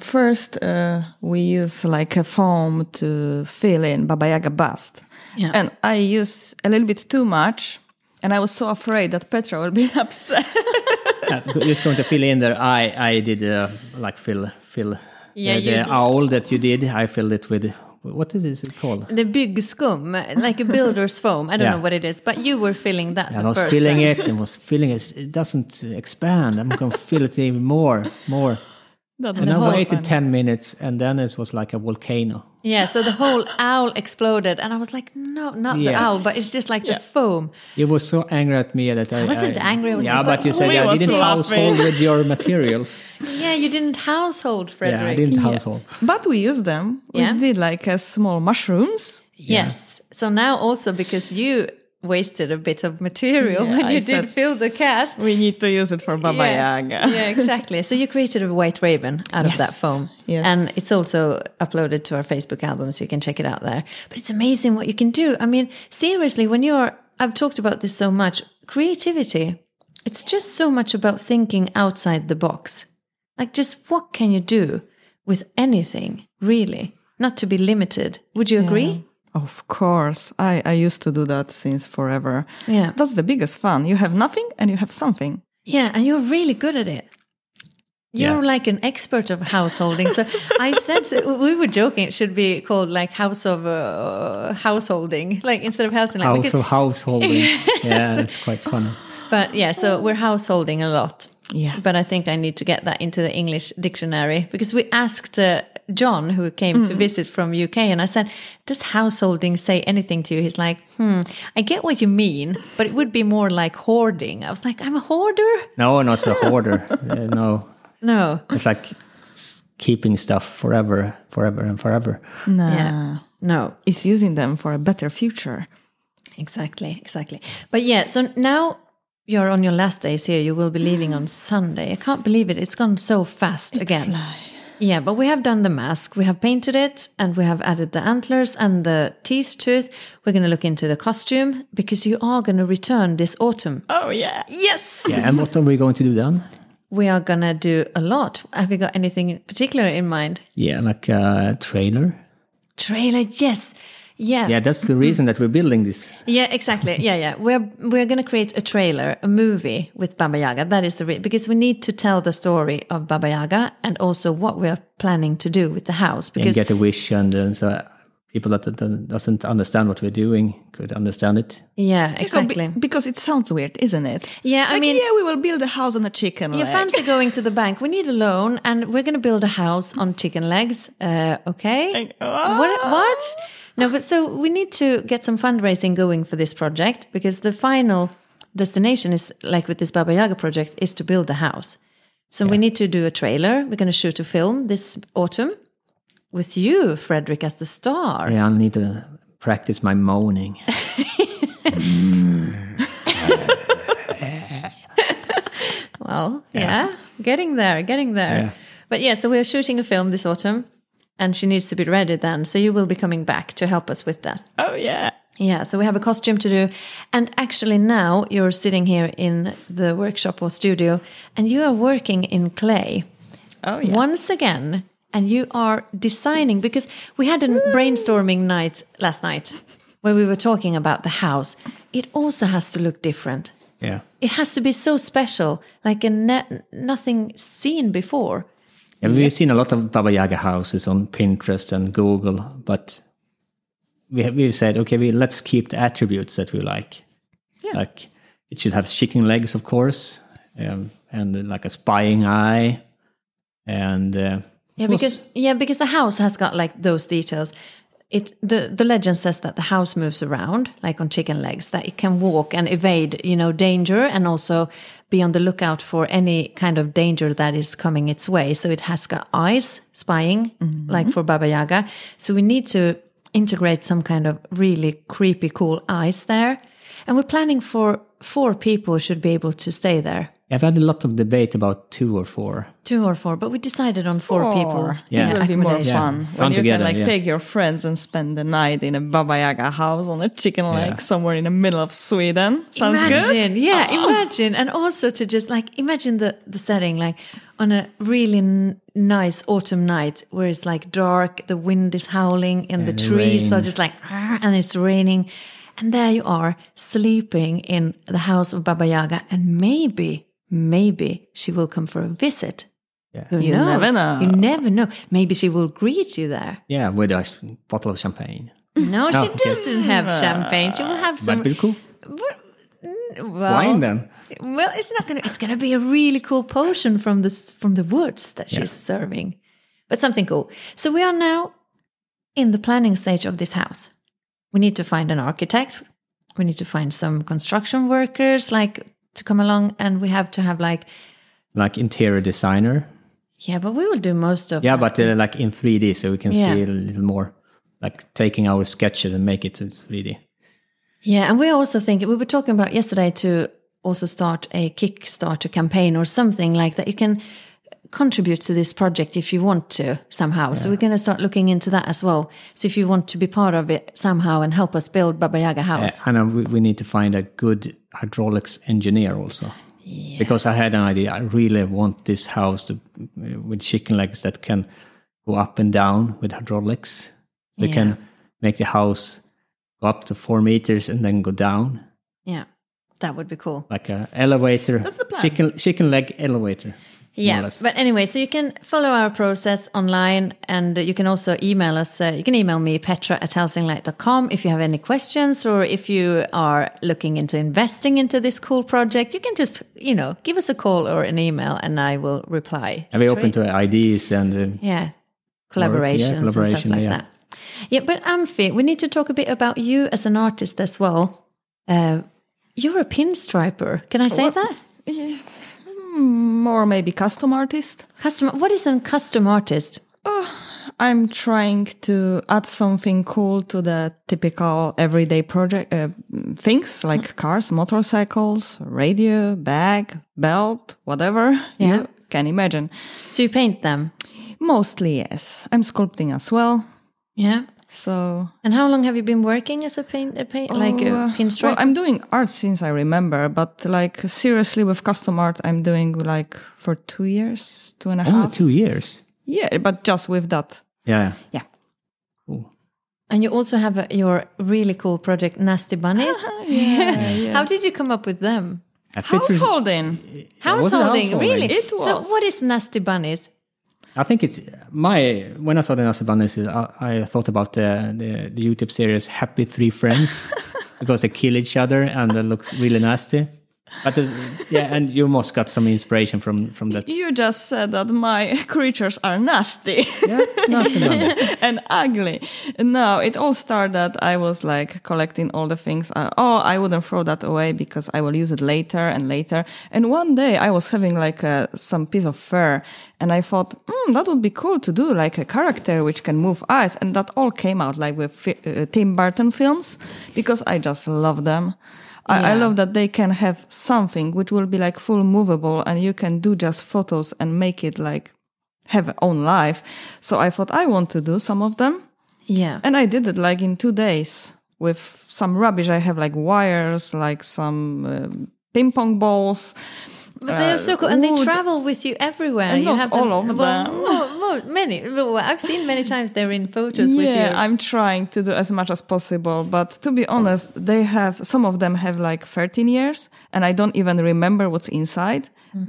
Speaker 3: First, uh, we use like a foam to fill in Baba Yaga bust.
Speaker 1: Yeah.
Speaker 3: And I use a little bit too much. And I was so afraid that Petra will be <laughs> upset.
Speaker 2: Yeah, Uh, just going to fill in there. I I did uh, like fill fill
Speaker 1: Yeah,
Speaker 2: the,
Speaker 1: you
Speaker 2: the
Speaker 1: did.
Speaker 2: owl that you did. I filled it with what is it called?
Speaker 1: The byggskum, like a builder's foam. I don't
Speaker 2: Yeah.
Speaker 1: know what it is, but you were filling that
Speaker 2: And I
Speaker 1: the
Speaker 2: was
Speaker 1: first
Speaker 2: filling
Speaker 1: time.
Speaker 2: it and was filling it. It doesn't expand. I'm going to fill it even more,
Speaker 1: <laughs>
Speaker 2: more.
Speaker 3: that
Speaker 2: And
Speaker 3: was
Speaker 2: I
Speaker 3: so
Speaker 2: waited
Speaker 3: funny.
Speaker 2: 10 minutes and then it was like a volcano.
Speaker 1: Yeah, so the whole owl exploded, and I was like, no, not the
Speaker 2: Yeah.
Speaker 1: owl, but it's just like the
Speaker 3: Yeah.
Speaker 1: foam.
Speaker 2: You were so angry at me that I, I
Speaker 1: wasn't angry, I was
Speaker 2: yeah,
Speaker 1: like,
Speaker 2: but you said
Speaker 3: We
Speaker 2: I
Speaker 3: was
Speaker 2: didn't
Speaker 3: laughing.
Speaker 2: household with your materials.
Speaker 1: Yeah, you didn't household, <laughs> Frederick.
Speaker 2: yeah, I didn't
Speaker 3: Yeah.
Speaker 2: household.
Speaker 3: But we use them.
Speaker 1: Yeah.
Speaker 3: We did like a small mushrooms.
Speaker 1: Yes. So now also because you wasted a bit of material
Speaker 3: Yeah,
Speaker 1: when you
Speaker 3: I
Speaker 1: did
Speaker 3: said-
Speaker 1: fill the cast.
Speaker 3: We need to use it for Baba
Speaker 1: yeah.
Speaker 3: Yaga.
Speaker 1: yeah, exactly. So you created a white raven out of
Speaker 3: Yes.
Speaker 1: that foam.
Speaker 3: Yes.
Speaker 1: And it's also uploaded to our Facebook album, so you can check it out there. But it's amazing what you can do. I mean, seriously, when you're, I've talked about this so much creativity, it's just so much about thinking outside the box. Like, just what can you do with anything, really? Not to be limited. Would you agree?
Speaker 3: Of course. I, I used to do that since forever.
Speaker 1: Yeah.
Speaker 3: That's the biggest fun. You have nothing and you have something.
Speaker 1: Yeah, and you're really good at it. You're
Speaker 2: Yeah.
Speaker 1: like an expert of householding. So I said so <laughs> we were joking. It should be called like house of uh, householding, like instead of housing. Like, <laughs>
Speaker 2: House
Speaker 1: because,
Speaker 2: of householding. yeah, it's quite funny.
Speaker 1: but yeah, so we're householding a lot.
Speaker 3: Yeah.
Speaker 1: but I think I need to get that into the English dictionary because we asked uh, John, who came to visit from UK, and I said, "Does householding say anything to you?" He's like, "Hmm, I get what you mean, but it would be more like hoarding." I was like, "I'm a hoarder."
Speaker 2: No, not a hoarder. Uh, no,
Speaker 1: No,
Speaker 2: it's like s- keeping stuff forever, forever and forever.
Speaker 3: No.
Speaker 1: yeah, no,
Speaker 3: It's using them for a better future.
Speaker 1: exactly, exactly. But yeah, so now. You're on your last days here. You will be leaving
Speaker 3: Mm.
Speaker 1: on Sunday. I can't believe it. It's gone so fast again. Yeah, but we have done the mask. We have painted it and we have added the antlers and the teeth tooth. We're going to look into the costume because you are going to return this autumn.
Speaker 3: Oh yeah.
Speaker 1: Yes!
Speaker 2: Yeah, and what are we going to do then?
Speaker 1: We are going to do a lot. Have you got anything in particular in mind?
Speaker 2: Yeah, like a trailer.
Speaker 1: Trailer, yes. Yeah.
Speaker 2: Yeah, that's the reason that we're building this.
Speaker 1: Yeah, exactly. Yeah, yeah. We're we're going to create a trailer, a movie with Baba Yaga. That is the re- because we need to tell the story of Baba Yaga and also what we're planning to do with the house
Speaker 2: and
Speaker 1: because
Speaker 2: get a wish and then so people that doesn't, doesn't understand what we're doing could understand it
Speaker 1: yeah,
Speaker 3: Because-
Speaker 1: exactly.
Speaker 3: Because it sounds weird, isn't it?
Speaker 1: Yeah, I
Speaker 3: Like,
Speaker 1: mean-
Speaker 3: yeah, we will build a house on a chicken.
Speaker 1: You
Speaker 3: leg.
Speaker 1: fancy going to the bank? We need a loan, and we're going to build a house on chicken legs. Uh, okay. What? What? No, but so we need to get some fundraising going for this project because the final destination is like with this Baba Yaga project is to build the house. So we need to do a trailer. We're going to shoot a film this autumn with you, Frederick, as the star.
Speaker 2: yeah i need to practice my
Speaker 1: <laughs>
Speaker 2: moaning
Speaker 1: Well, yeah. getting there, getting there.
Speaker 2: Yeah.
Speaker 1: But yeah, so we're shooting a film this autumn and she needs to be ready then. So you will be coming back to help us with that.
Speaker 3: Oh yeah.
Speaker 1: Yeah, so we have a costume to do. And actually, now you're sitting here in the workshop or studio and you are working in clay
Speaker 3: Oh yeah.
Speaker 1: once again. And you are designing because we had a brainstorming night last night where we were talking about the house. It also has to look different
Speaker 2: yeah
Speaker 1: it has to be so special, like a ne- nothing seen before.
Speaker 2: yeah, we've seen a lot of Baba Yaga houses on Pinterest and Google, but we have, we've said, okay, we, let's keep the attributes that we like. Like it should have chicken legs, of course, um, and uh, like a spying eye. And uh,
Speaker 1: Yeah, because yeah, because the house has got like those details. It the the legend says that the house moves around like on chicken legs, that it can walk and evade you know danger and also be on the lookout for any kind of danger that is coming its way. So it has got eyes spying,
Speaker 3: Mm-hmm.
Speaker 1: like for Baba Yaga. So we need to integrate some kind of really creepy cool eyes there, and we're planning for four people should be able to stay there.
Speaker 2: I've had a lot of debate about two or four.
Speaker 1: Two or four, but we decided on four, people.
Speaker 3: Or It will be more
Speaker 1: accommodation.
Speaker 2: Yeah.
Speaker 3: fun when
Speaker 2: Fun
Speaker 3: you
Speaker 2: together,
Speaker 3: can like
Speaker 2: yeah.
Speaker 3: take your friends and spend the night in a Baba Yaga house on a chicken leg somewhere in the middle of Sweden. Sounds good. Oh.
Speaker 1: imagine, yeah, imagine, and also to just like imagine the the setting, like on a really n- nice autumn night where it's like dark, the wind is howling, and the,
Speaker 2: the
Speaker 1: trees are
Speaker 2: rain.
Speaker 1: just like, "Arr," and it's raining, and there you are sleeping in the house of Baba Yaga, and maybe, maybe she will come for a visit.
Speaker 2: Yeah.
Speaker 1: Who
Speaker 3: You
Speaker 1: knows?
Speaker 3: never know.
Speaker 1: You never know. Maybe she will greet you
Speaker 3: <laughs>
Speaker 1: there.
Speaker 2: Yeah, with a sh- bottle of champagne.
Speaker 1: No, she
Speaker 2: okay.
Speaker 1: doesn't have champagne. She will have some.
Speaker 2: That'd be cool.
Speaker 1: Well, Well, it's not gonna. It's gonna be a really cool potion from the s- from the woods that she's serving, but something cool. So we are now in the planning stage of this house. We need to find an architect. We need to find some construction workers, like to come along, and we have to have like
Speaker 2: Like interior designer.
Speaker 1: yeah, but we will do most of
Speaker 2: Yeah,
Speaker 1: that.
Speaker 2: but uh, like in 3D, so we can see
Speaker 1: Yeah.
Speaker 2: a little more. Like taking our sketches and make it to 3D.
Speaker 1: Yeah, and we also think we were talking about yesterday to also start a Kickstarter campaign or something like that. You can contribute to this project if you want to somehow. So we're going to start looking into that as well. So if you want to be part of it somehow and help us build Baba Yaga
Speaker 2: Uh,
Speaker 1: House,
Speaker 2: and uh, we, we need to find a good hydraulics engineer also. Because I had an idea. I really want this house to, uh, with chicken legs that can go up and down with hydraulics. We
Speaker 1: Yeah.
Speaker 2: can make the house go up to four meters and then go down.
Speaker 1: yeah, that would be cool.
Speaker 2: like a elevator.
Speaker 3: That's the plan.
Speaker 2: Chicken chicken leg elevator. more or
Speaker 1: Yeah,
Speaker 2: less.
Speaker 1: but anyway, so you can follow our process online and you can also email us. Uh, you can email me, petra at helsinglight.com. If you have any questions or if you are looking into investing into this cool project, you can just, you know, give us a call or an email and I will reply.
Speaker 2: and we're open
Speaker 1: straight
Speaker 2: to ideas and um,
Speaker 1: yeah collaborations and stuff
Speaker 2: collaboration,
Speaker 1: like
Speaker 2: yeah.
Speaker 1: that yeah but amphi we need to talk a bit about you as an artist as well uh, you're a pinstriper can i say that
Speaker 3: Yeah. Hmm, Or maybe custom artist.
Speaker 1: custom what is a custom artist
Speaker 3: I'm trying to add something cool to the typical everyday project uh, things like cars, motorcycles, radio, bag, belt, whatever
Speaker 1: Yeah.
Speaker 3: you can imagine.
Speaker 1: so you paint them
Speaker 3: Mostly yes. I'm sculpting as well.
Speaker 1: yeah
Speaker 3: So
Speaker 1: and how long have you been working as a paint, a paint like a
Speaker 3: uh,
Speaker 1: pinstriper
Speaker 3: Well, I'm doing art since I remember, but like seriously with custom art, I'm doing like for two years, two and a half.
Speaker 2: oh, two years.
Speaker 3: Yeah, but just with that.
Speaker 2: Yeah,
Speaker 3: Yeah.
Speaker 2: cool.
Speaker 1: and you also have a, your really cool project nasty
Speaker 3: <laughs>
Speaker 1: bunnies <laughs> how did you come up with them
Speaker 2: I think we-
Speaker 3: Householding.
Speaker 2: was it
Speaker 1: householding,
Speaker 2: householding?
Speaker 1: really
Speaker 3: It
Speaker 1: so
Speaker 3: was.
Speaker 1: what is nasty bunnies
Speaker 2: I think it's my when I saw the Nasabanis, I, I thought about the, the the YouTube series Happy Three
Speaker 1: <laughs>
Speaker 2: Friends because they kill each other and it looks really nasty. But uh, yeah, and you must got some inspiration from from that.
Speaker 3: You just said that my <laughs> creatures are nasty
Speaker 2: Yeah,
Speaker 3: <laughs>
Speaker 1: <laughs>
Speaker 2: Nasabanis.
Speaker 3: and ugly. No, it all started. I was like collecting all the things. Uh, oh, I wouldn't throw that away because I will use it later and later. And one day I was having like uh, some piece of fur and I thought, hmm, that would be cool to do like a character which can move eyes. And that all came out like with fi- uh, Tim Burton films because I just love them. I, I
Speaker 1: Yeah.
Speaker 3: love that they can have something which will be like full movable and you can do just photos and make it like have a own life. So I thought I want to do some of them.
Speaker 1: yeah
Speaker 3: And I did it like in two days with some rubbish. I have like wires, like some uh, ping pong balls.
Speaker 1: But they are so cool, and they
Speaker 3: uh, wood.
Speaker 1: travel with you everywhere.
Speaker 3: And
Speaker 1: you
Speaker 3: not
Speaker 1: have
Speaker 3: all of
Speaker 1: well,
Speaker 3: them.
Speaker 1: mo- mo- many. Well, I've seen many times they're in photos with
Speaker 3: yeah,
Speaker 1: you.
Speaker 3: I'm trying to do as much as possible. But to be honest, they have some of them have like 13 years, and I don't even remember what's inside.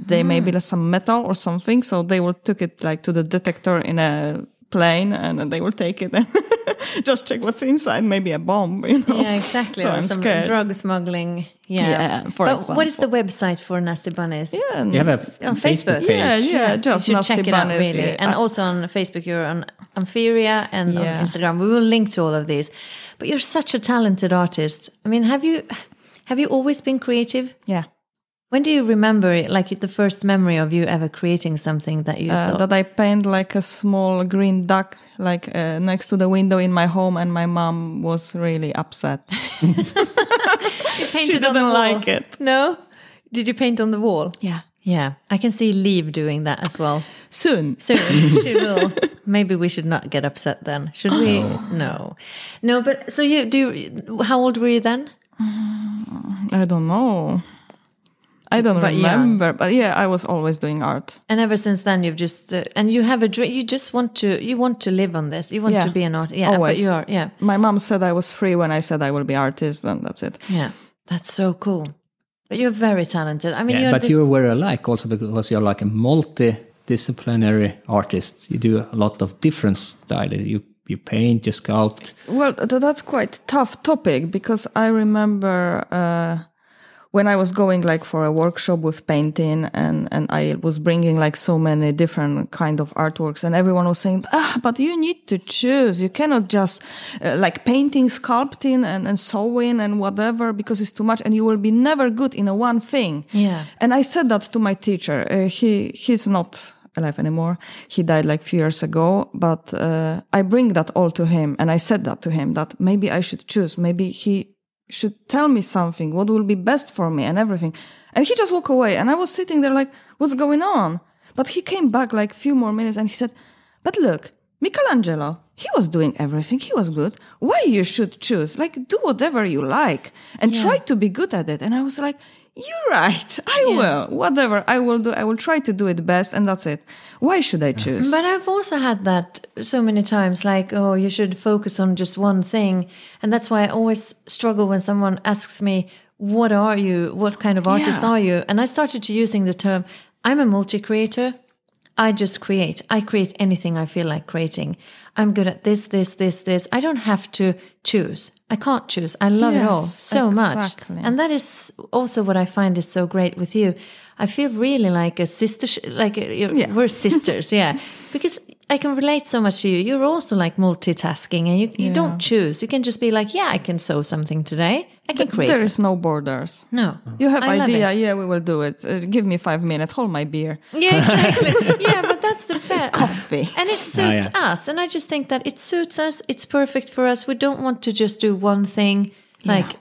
Speaker 3: They may
Speaker 1: Mm-hmm.
Speaker 3: be like some metal or something, so they will took it like to the detector in a plane, and they will take it and <laughs> just check what's inside. Maybe a bomb, you know.
Speaker 1: yeah, exactly.
Speaker 3: <laughs> So
Speaker 1: or
Speaker 3: I'm
Speaker 1: some
Speaker 3: scared.
Speaker 1: drug smuggling. Yeah.
Speaker 3: Yeah, for
Speaker 1: but what is the website for Nasty Bunnies?
Speaker 3: Yeah,
Speaker 2: You have a
Speaker 1: On Facebook.
Speaker 2: page.
Speaker 3: yeah, yeah,
Speaker 1: You
Speaker 3: Eh, just
Speaker 1: should
Speaker 3: nasty
Speaker 1: check it out,
Speaker 3: bunnies,
Speaker 1: really.
Speaker 3: yeah.
Speaker 1: And also on Facebook, you're on Amphiria and
Speaker 3: Yeah.
Speaker 1: on Instagram. We will link to all of these. But you're such a talented artist. I mean, have you have you always been creative?
Speaker 3: yeah.
Speaker 1: When do you remember, like, the first memory of you ever creating something that you
Speaker 3: Uh,
Speaker 1: thought?
Speaker 3: that I paint like a small green duck, like uh, next to the window in my home, and my mom was really upset. <laughs>
Speaker 1: You painted
Speaker 3: She
Speaker 1: on the
Speaker 3: didn't
Speaker 1: wall.
Speaker 3: like it.
Speaker 1: No? Did you paint on the wall?
Speaker 3: Yeah.
Speaker 1: Yeah, I can see Liv doing that as well.
Speaker 3: Soon. <laughs>
Speaker 1: Soon she will. Maybe we should not get upset then, should we? No, no. But so you do. How old were you then?
Speaker 3: I don't know. I don't
Speaker 1: But yeah.
Speaker 3: remember, but yeah, I was always doing art.
Speaker 1: And ever since then, you've just uh, and you have a dream. You just want to. You want to live on this. You want
Speaker 3: Yeah.
Speaker 1: to be an artist. Yeah,
Speaker 3: Always.
Speaker 1: but you are. Yeah,
Speaker 3: My mom said I was free when I said I will be artist, and that's it.
Speaker 1: yeah. That's so cool. But you're very talented. I mean,
Speaker 2: Yeah,
Speaker 1: you're
Speaker 2: but
Speaker 1: this-
Speaker 2: you're very alike also because you're like a multidisciplinary artist. You do a lot of different styles. You you paint, you sculpt.
Speaker 3: Well, th- that's quite tough topic because I remember uh, when I was going like for a workshop with painting and and I was bringing like so many different kind of artworks and everyone was saying, ah, but you need to choose. You cannot just uh, like painting, sculpting, and and sewing and whatever because it's too much and you will be never good in a one thing.
Speaker 1: Yeah.
Speaker 3: And I said that to my teacher. Uh, he he's not alive anymore. He died like few years ago. But uh, I bring that all to him, and I said that to him that maybe I should choose. Maybe he should tell me something. What will be best for me and everything. And he just walked away, and I was sitting there like, what's going on? But he came back like few more minutes, and he said, but look. Michelangelo, he was doing everything. He was good. Why you should choose? Like, do whatever you like and try to be good at it. And I was like, you're right. I will. Whatever I will do, I will try to do it best, and that's it. Why should I choose?
Speaker 1: But I've also had that so many times, like, oh, you should focus on just one thing. And that's why I always struggle when someone asks me, what are you? What kind of artist
Speaker 3: Yeah.
Speaker 1: are you? And I started to using the term, I'm a multi creator. I just create. I create anything I feel like creating. I'm good at this, this, this, this. I don't have to choose. I can't choose. I love it all
Speaker 3: Yes,
Speaker 1: so
Speaker 3: exactly.
Speaker 1: much. And that is also what I find is so great with you. I feel really like a sister, sh- like a, you're-
Speaker 3: Yeah.
Speaker 1: we're sisters.
Speaker 3: <laughs>
Speaker 1: yeah. Because I can relate so much to you. You're also like multitasking and you, you don't choose. You can just be like, yeah, I can sew something today. I can create.
Speaker 3: There
Speaker 1: some-
Speaker 3: is no borders.
Speaker 1: no.
Speaker 3: You have
Speaker 1: I love
Speaker 3: idea.
Speaker 1: it.
Speaker 3: Yeah, we will do it. Uh, give me five minutes. Hold my beer.
Speaker 1: Yeah,
Speaker 3: <laughs>
Speaker 1: exactly. yeah, but that's the best.
Speaker 3: Coffee.
Speaker 1: And it suits
Speaker 2: Ah, yeah.
Speaker 1: us. And I just think that it suits us. It's perfect for us. We don't want to just do one thing. Like,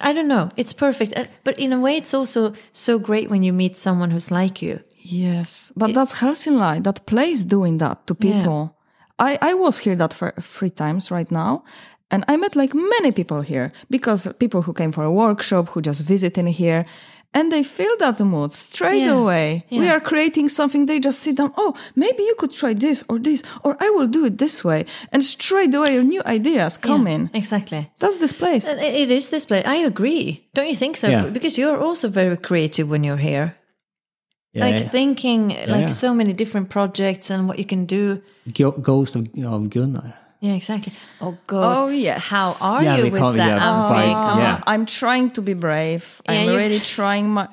Speaker 1: I don't know. It's perfect. Uh, But in a way, it's also so great when you meet someone who's like you.
Speaker 3: Yes, but that's Helsinki. That place doing that to people. I I was here that for three times right now, and I met like many people here because people who came for a workshop, who just visit in here, and they feel that mood straight
Speaker 1: Yeah,
Speaker 3: away. We
Speaker 1: yeah.
Speaker 3: are creating something. They just sit down. Oh, maybe you could try this or this, or I will do it this way, and straight away new ideas come
Speaker 1: Yeah, Uh,
Speaker 3: in.
Speaker 1: Exactly.
Speaker 3: That's this place.
Speaker 1: And i- It is this place. I agree. Don't you think so?
Speaker 2: Yeah.
Speaker 1: Because you're also very creative when you're here.
Speaker 2: Yeah,
Speaker 1: like
Speaker 2: yeah.
Speaker 1: thinking like
Speaker 2: yeah.
Speaker 1: so many different projects and what you can do.
Speaker 2: Gu- Ghost of, of Gunnar.
Speaker 1: Yeah, exactly. Oh, ghost.
Speaker 3: Oh, yes.
Speaker 1: How are
Speaker 2: Yeah, we
Speaker 1: you with
Speaker 2: can't-
Speaker 1: that? Oh,
Speaker 2: yeah,
Speaker 1: Anfi?
Speaker 2: fine.
Speaker 1: Come
Speaker 2: Yeah.
Speaker 1: on.
Speaker 3: Uh, I'm trying to be brave. I'm
Speaker 1: you-
Speaker 3: really trying my.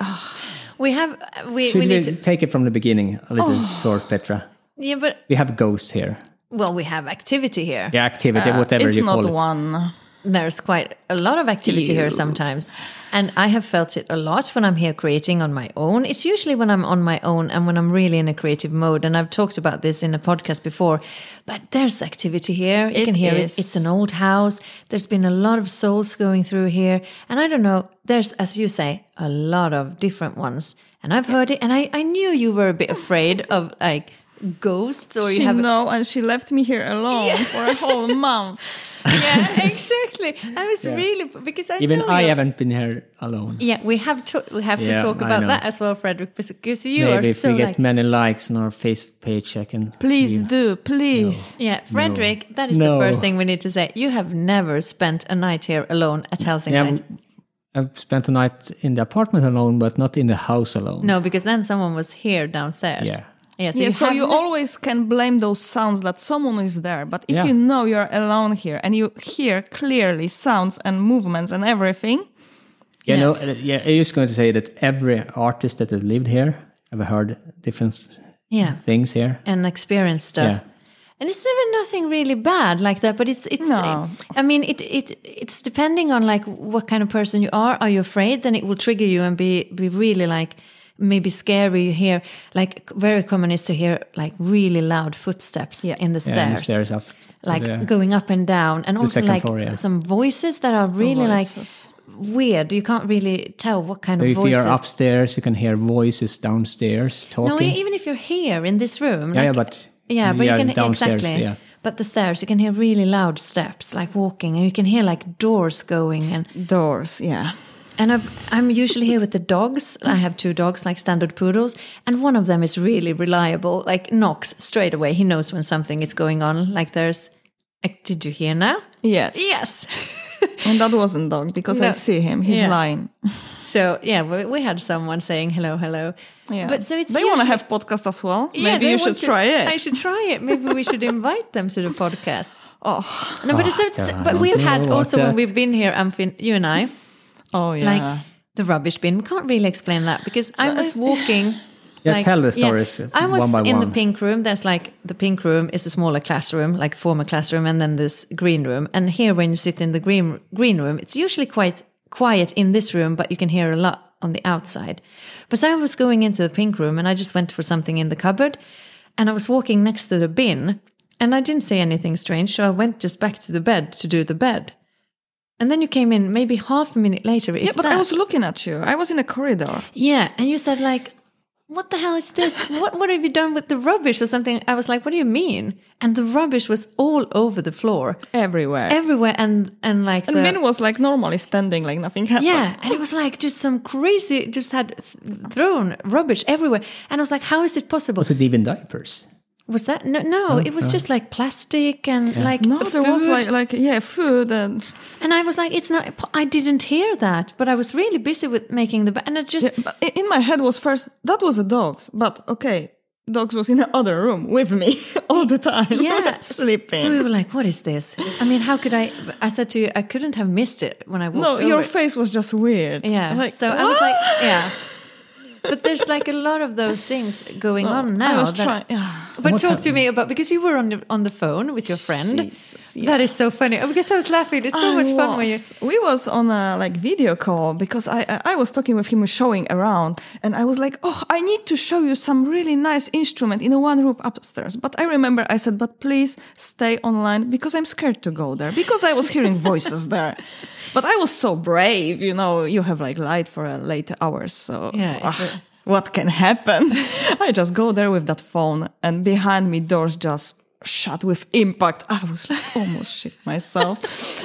Speaker 1: We have we,
Speaker 2: Should we,
Speaker 1: we need to Oh.
Speaker 2: take it from the beginning a little short, Petra?
Speaker 1: Yeah, but
Speaker 2: We have ghosts here.
Speaker 1: well, we have activity here.
Speaker 2: Yeah, activity,
Speaker 1: Uh,
Speaker 2: whatever
Speaker 3: it's
Speaker 2: you
Speaker 3: not
Speaker 2: call it.
Speaker 3: one.
Speaker 1: There's quite a lot of activity here sometimes. And I have felt it a lot when I'm here creating on my own. It's usually when I'm on my own and when I'm really in a creative mode. And I've talked about this in a podcast before, but there's activity here. You
Speaker 3: It
Speaker 1: can hear
Speaker 3: is.
Speaker 1: it. It's an old house. There's been a lot of souls going through here. And I don't know, there's, as you say, a lot of different ones. And I've heard it. And I, I knew you were a bit afraid of like ghosts or you
Speaker 3: she
Speaker 1: have
Speaker 3: know, and she left me here alone for a whole month.
Speaker 1: <laughs>
Speaker 3: <laughs>
Speaker 1: yeah, exactly. I was really because I
Speaker 2: Even
Speaker 1: know
Speaker 2: I
Speaker 1: you.
Speaker 2: haven't been here alone.
Speaker 1: Yeah, we have to we have to
Speaker 2: Yeah,
Speaker 1: talk
Speaker 2: I
Speaker 1: about
Speaker 2: know.
Speaker 1: that as well, Frederick, because you
Speaker 2: Maybe
Speaker 1: are
Speaker 2: if
Speaker 1: so
Speaker 2: we get
Speaker 1: like
Speaker 2: many likes on our Facebook page, I can.
Speaker 3: Please do, please.
Speaker 1: yeah, Frederick. That is
Speaker 2: No.
Speaker 1: the first thing we need to say. You have never spent a night here alone at Helsingland.
Speaker 2: Yeah, I'm- I've spent the night in the apartment alone, but not in the house alone.
Speaker 1: No, because then someone was here downstairs.
Speaker 2: Yeah.
Speaker 1: yeah. So
Speaker 3: Yeah,
Speaker 1: you,
Speaker 3: so
Speaker 1: have
Speaker 3: you
Speaker 1: ne-
Speaker 3: always can blame those sounds that someone is there, but if
Speaker 2: Yeah.
Speaker 3: you know you're alone here and you hear clearly sounds and movements and everything,
Speaker 2: You
Speaker 1: Yeah.
Speaker 2: know, uh, yeah, I was going to say that every artist that have lived here, I've heard different s-
Speaker 1: yeah,
Speaker 2: things here.
Speaker 1: and experience stuff.
Speaker 2: Yeah.
Speaker 1: And it's never nothing really bad like that, but it's it's.
Speaker 3: No.
Speaker 1: I mean, it it it's depending on like what kind of person you are. Are you afraid? Then it will trigger you and be be really like maybe scary. You hear like very common is to hear like really loud footsteps
Speaker 3: Yeah.
Speaker 1: in the
Speaker 2: Yeah, and the
Speaker 1: stairs,
Speaker 2: stairs up. to
Speaker 1: like
Speaker 2: the-
Speaker 1: going up and down, and also
Speaker 2: second
Speaker 1: like
Speaker 2: floor, yeah.
Speaker 1: some voices that are really like
Speaker 3: voices.
Speaker 1: weird. You can't really tell what kind
Speaker 2: so
Speaker 1: of
Speaker 2: if
Speaker 1: voices.
Speaker 2: you're upstairs, you can hear voices downstairs talking.
Speaker 1: no, even if you're here in this room,
Speaker 2: yeah, yeah,
Speaker 1: like,
Speaker 2: but
Speaker 1: yeah, but
Speaker 2: yeah,
Speaker 1: you can
Speaker 2: downstairs,
Speaker 1: exactly.
Speaker 2: Yeah,
Speaker 1: But the stairs, you can hear really loud steps, like walking, and you can hear like doors going. And
Speaker 3: doors, yeah.
Speaker 1: and I've, I'm usually here with the dogs. I have two dogs, like standard poodles, and one of them is really reliable. Like knocks straight away. He knows when something is going on. Like there's, like, did you hear now?
Speaker 3: Yes.
Speaker 1: Yes.
Speaker 3: And that wasn't dog because I
Speaker 1: No.
Speaker 3: see him. He's
Speaker 1: Yeah.
Speaker 3: lying.
Speaker 1: <laughs> So yeah, we, we had someone saying hello, hello.
Speaker 3: Yeah.
Speaker 1: But so it's
Speaker 3: they want to
Speaker 1: usually-
Speaker 3: have podcast as well.
Speaker 1: Yeah,
Speaker 3: Maybe
Speaker 1: they
Speaker 3: you should
Speaker 1: want to-
Speaker 3: try it.
Speaker 1: I should try it. Maybe we should invite them to the podcast.
Speaker 3: <laughs> Oh,
Speaker 1: No, but it's, it's- but we had
Speaker 2: know about
Speaker 1: also when
Speaker 2: that.
Speaker 1: we've been here, Amfin, you and I,
Speaker 3: oh yeah.
Speaker 1: like the rubbish bin. We can't really explain that because I was walking.
Speaker 2: Yeah, tell the stories
Speaker 1: I was
Speaker 2: one by
Speaker 1: in the
Speaker 2: one.
Speaker 1: pink room. There's like the pink room is a smaller classroom, like former classroom, and then this green room. And here, when you sit in the green green room, it's usually quite quiet in this room, but you can hear a lot on the outside. But so I was going into the pink room, and I just went for something in the cupboard, and I was walking next to the bin, and I didn't say anything strange, so I went just back to the bed to do the bed. And then you came in maybe half a minute later. if
Speaker 3: yeah, but I
Speaker 1: that.
Speaker 3: was looking at you. I was in a corridor.
Speaker 1: Yeah, and you said like, "What the hell is this? What what have you done with the rubbish or something?" I was like, "What do you mean?" And the rubbish was all over the floor,
Speaker 3: Everywhere.
Speaker 1: everywhere, and and like
Speaker 3: And
Speaker 1: the
Speaker 3: Min was like normally standing, like nothing happened.
Speaker 1: yeah, and it was like just some crazy, just had th- thrown rubbish everywhere, and I was like, "How is it possible?"
Speaker 2: was it even diapers?
Speaker 1: Was that no? No, it was just like plastic and like
Speaker 3: No, Oh, there was
Speaker 1: food.
Speaker 3: like like yeah, food and
Speaker 1: And I was like, it's not, I didn't hear that, but I was really busy with making the, ba- and I just,
Speaker 3: Yeah, but i- in my head was first that was a dogs, but okay, dogs was in another room with me <laughs> all the time.
Speaker 1: yeah.
Speaker 3: sleeping.
Speaker 1: So we were like, what is this? I mean, how could I, I said to you, I couldn't have missed it when I walked
Speaker 3: no,
Speaker 1: over
Speaker 3: your
Speaker 1: it.
Speaker 3: face was just weird.
Speaker 1: Yeah.
Speaker 3: Like,
Speaker 1: so I was
Speaker 3: "What?"
Speaker 1: like, oh, yeah. But there's like a lot of those things going on now.
Speaker 3: I was
Speaker 1: that-
Speaker 3: trying. <sighs> Yeah.
Speaker 1: But
Speaker 2: What
Speaker 1: talk to me about because you were on the, on the phone with your friend.
Speaker 3: Jesus, yeah.
Speaker 1: That is so funny. Oh, Because I was laughing. It's so
Speaker 3: I
Speaker 1: much fun when you.
Speaker 3: was. We was on a like video call because I I- I was talking with him, showing around, and I was like, oh, I need to show you some really nice instrument in a one room upstairs. But I remember I said, but please stay online because I'm scared to go there because I was hearing
Speaker 1: <laughs>
Speaker 3: voices there. But I was so brave, you know. You have like light for uh, late hours, so
Speaker 1: Yeah,
Speaker 3: so,
Speaker 1: it's
Speaker 3: ah,
Speaker 1: a-
Speaker 3: what can happen? <laughs> I just go there with that phone, and behind me doors just shut with impact. I was like almost shit myself,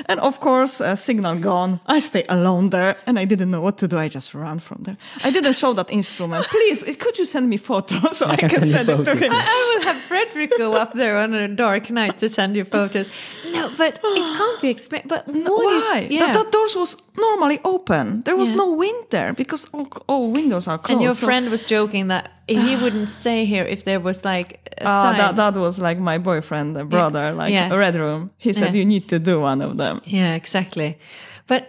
Speaker 3: and of course, uh, signal gone. I stay alone there, and I didn't know what to do. I just ran from there. I didn't show that instrument. Please, uh, could you send me photos so I,
Speaker 2: can
Speaker 3: can
Speaker 2: send
Speaker 3: send,
Speaker 2: you
Speaker 3: it to
Speaker 2: photos. <laughs>
Speaker 3: him?
Speaker 1: I will have Frederick go up there on a dark night to send you photos. No, but it can't be explained. But what is-
Speaker 3: Why?
Speaker 1: yeah.
Speaker 3: That, that doors was normally open. There was
Speaker 1: Yeah.
Speaker 3: no wind there because all, all windows are closed.
Speaker 1: and your
Speaker 3: so-
Speaker 1: friend was joking that
Speaker 3: <sighs>
Speaker 1: he wouldn't stay here if there was like a
Speaker 3: Ah,
Speaker 1: sign.
Speaker 3: that, that was like my boyfriend, a brother, like
Speaker 1: Yeah.
Speaker 3: a red room. He said,
Speaker 1: Yeah.
Speaker 3: you need to do one of them.
Speaker 1: Yeah, exactly. But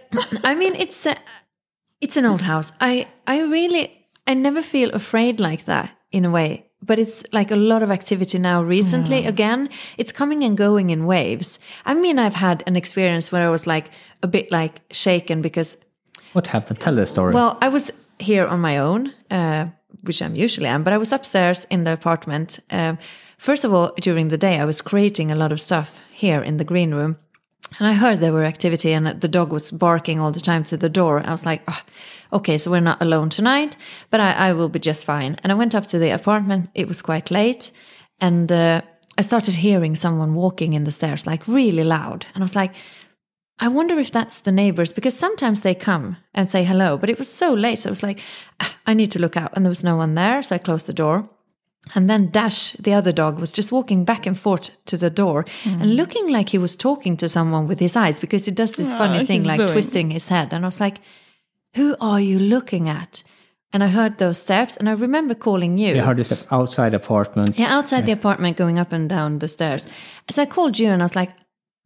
Speaker 1: I mean, it's a, it's an old house. I I really I never feel afraid like that in a way. But it's like a lot of activity now. Recently,
Speaker 3: Mm.
Speaker 1: again, it's coming and going in waves. I mean, I've had an experience where I was like a bit like shaken because
Speaker 2: What happened? Tell the story.
Speaker 1: well, I was here on my own, uh, which I'm usually am, but I was upstairs in the apartment. Um, first of all, during the day, I was creating a lot of stuff here in the green room. And I heard there were activity and the dog was barking all the time to the door. I was like, "Ah, okay, so we're not alone tonight, but I, I will be just fine. And I went up to the apartment. It was quite late. And uh, I started hearing someone walking in the stairs, like really loud. And I was like, I wonder if that's the neighbors because sometimes they come and say hello, but it was so late. So I was like, "Ah, I need to look out. And there was no one there. So I closed the door. And then Dash, the other dog, was just walking back and forth to the door and looking like he was talking to someone with his eyes because he does this funny thing
Speaker 3: he's
Speaker 1: like
Speaker 3: doing.
Speaker 1: twisting his head. And I was like, Who are you looking at? And I heard those steps and I remember calling you.
Speaker 2: I heard this outside apartment.
Speaker 1: Yeah, outside the apartment, going up and down the stairs. So I called you and I was like,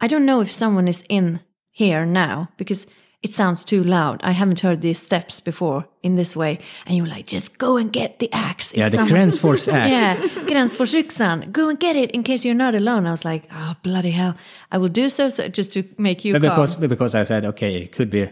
Speaker 1: I don't know if someone is in here now because it sounds too loud. I haven't heard these steps before in this way. And you were like, just go and get the axe. if
Speaker 2: Yeah, the
Speaker 1: someone- <laughs>
Speaker 2: Gränsfors axe.
Speaker 1: yeah, gränsforsryxan. Go and get it in case you're not alone. I was like, oh, bloody hell. I will do so, so just to make you
Speaker 2: But
Speaker 1: calm.
Speaker 2: because because I said okay, it could be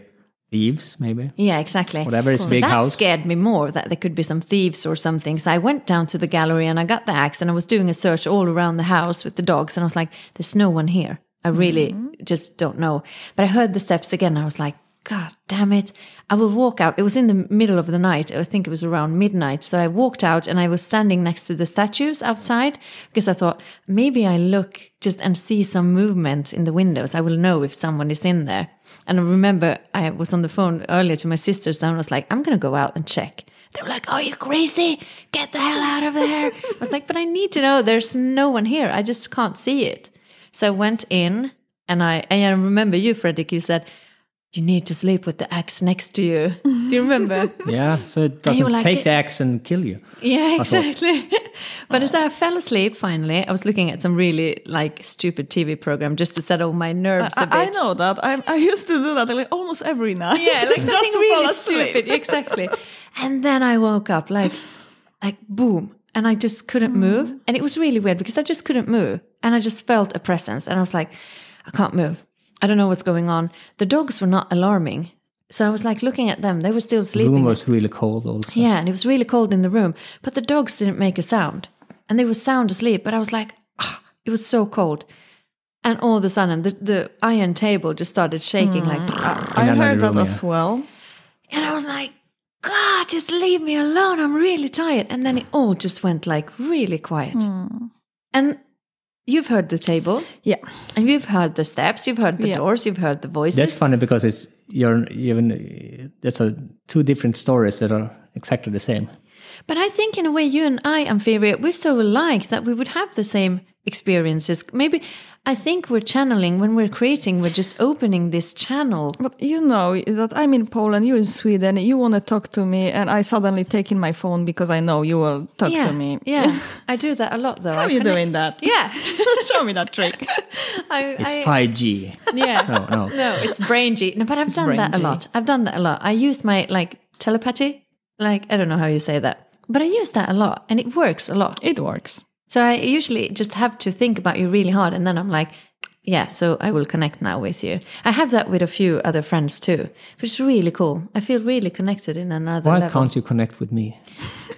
Speaker 2: thieves maybe.
Speaker 1: Yeah, exactly.
Speaker 2: Whatever is
Speaker 1: so
Speaker 2: big
Speaker 1: that
Speaker 2: house.
Speaker 1: scared me more that there could be some thieves or something. So I went down to the gallery and I got the axe and I was doing a search all around the house with the dogs and I was like, there's no one here. I really just don't know. But I heard the steps again. And I was like, God damn it. I will walk out. It was in the middle of the night. I think it was around midnight. So I walked out and I was standing next to the statues outside because I thought maybe I look just and see some movement in the windows. I will know if someone is in there. And I remember I was on the phone earlier to my sisters and I was like, I'm going to go out and check. They were like, Are you crazy? Get the hell out of there. <laughs> I was like, But I need to know there's no one here. I just can't see it. So I went in and I, and I remember you, Frederick, you said, You need to sleep with the axe next to
Speaker 3: <laughs>
Speaker 1: you. Do you remember?
Speaker 2: Yeah, so it doesn't
Speaker 1: like
Speaker 2: take
Speaker 1: it?
Speaker 2: the axe and kill you.
Speaker 1: Yeah,
Speaker 2: thought.
Speaker 3: <laughs>
Speaker 1: exactly. but as I fell asleep finally, I was looking at some really like stupid TV program just to settle my nerves a bit.
Speaker 3: I, I know that. I, I used to do that like, almost every night.
Speaker 1: Yeah, like
Speaker 3: <laughs> just
Speaker 1: something
Speaker 3: to fall
Speaker 1: really
Speaker 3: asleep. <laughs>
Speaker 1: stupid. Exactly. and then I woke up like, like boom, and I just couldn't
Speaker 3: Mm.
Speaker 1: move. And it was really weird because I just couldn't move, and I just felt a presence, and I was like, I can't move. I don't know what's going on. The dogs were not alarming, so I was like looking at them. They were still
Speaker 2: The room
Speaker 1: sleeping.
Speaker 2: was really cold also.
Speaker 1: Yeah, and it was really cold in the room, but the dogs didn't make a sound, and they were sound asleep. But I was like, ah, it was so cold. And all of a sudden, the, the iron table just started shaking
Speaker 3: Mm.
Speaker 1: like.
Speaker 3: I
Speaker 2: In another
Speaker 3: heard that
Speaker 2: room,
Speaker 3: as well.
Speaker 1: And I was like, God, just leave me alone. I'm really tired. And then it all just went like really quiet.
Speaker 3: Hmm.
Speaker 1: And you've heard the table,
Speaker 3: Yeah.
Speaker 1: and you've heard the steps, you've heard the
Speaker 3: Yeah.
Speaker 1: doors, you've heard the voices.
Speaker 2: That's funny because it's you're even that's a two different stories that are exactly the same.
Speaker 1: But I think, in a way, you and I, Amphiria, we're so alike that we would have the same experiences. Maybe I think we're channeling when we're creating, we're just opening this channel.
Speaker 3: But you know that I'm in Poland, you're in Sweden, you want to talk to me, and I suddenly take in my phone because I know you will talk
Speaker 1: yeah,
Speaker 3: to me. <laughs>
Speaker 1: yeah. I do that a lot though.
Speaker 3: How
Speaker 1: I
Speaker 3: are you
Speaker 1: connect-
Speaker 3: doing that?
Speaker 1: Yeah,
Speaker 3: <laughs>
Speaker 1: <laughs>
Speaker 3: Show me that trick.
Speaker 1: I,
Speaker 2: It's
Speaker 1: I- <laughs>
Speaker 2: 5G.
Speaker 1: Yeah.
Speaker 2: no.
Speaker 1: it's brain G. No, but I've done
Speaker 3: brain
Speaker 1: that a
Speaker 3: G.
Speaker 1: lot. I've done that a lot. I used my like telepathy. Like I don't know how you say that, but I use that a lot, and it works a lot.
Speaker 3: It works.
Speaker 1: So I usually just have to think about you really hard, and then I'm like, yeah. So I will connect now with you. I have that with a few other friends too, which is really cool. I feel really connected in another
Speaker 2: Why
Speaker 1: level.
Speaker 2: can't you connect with me?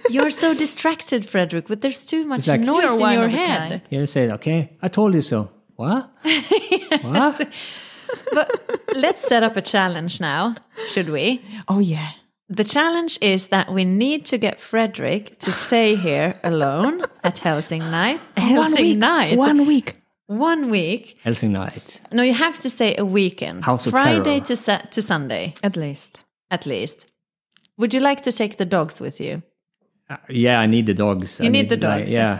Speaker 1: You're so distracted, Frederick. But there's too much
Speaker 2: like-
Speaker 1: noise
Speaker 3: You're
Speaker 1: in
Speaker 3: one
Speaker 1: your
Speaker 3: of a
Speaker 1: head.
Speaker 3: kind.
Speaker 2: You say, okay, I told you so. What? what?
Speaker 1: But let's set up a challenge now, should we?
Speaker 3: Oh, yeah.
Speaker 1: The challenge is that we need to get Frederick to stay here alone at Helsing Night.
Speaker 3: <laughs> one
Speaker 1: Helsing
Speaker 3: week.
Speaker 1: Night.
Speaker 3: One week.
Speaker 1: One week.
Speaker 2: Helsing Night.
Speaker 1: No, you have to say a weekend.
Speaker 2: House of
Speaker 1: Friday
Speaker 2: Terror.
Speaker 1: to sa- to Sunday,
Speaker 3: At least.
Speaker 1: at least. Would you like to take the dogs with you?
Speaker 2: Uh, yeah, I need the dogs. You
Speaker 1: need the dogs.
Speaker 2: yeah.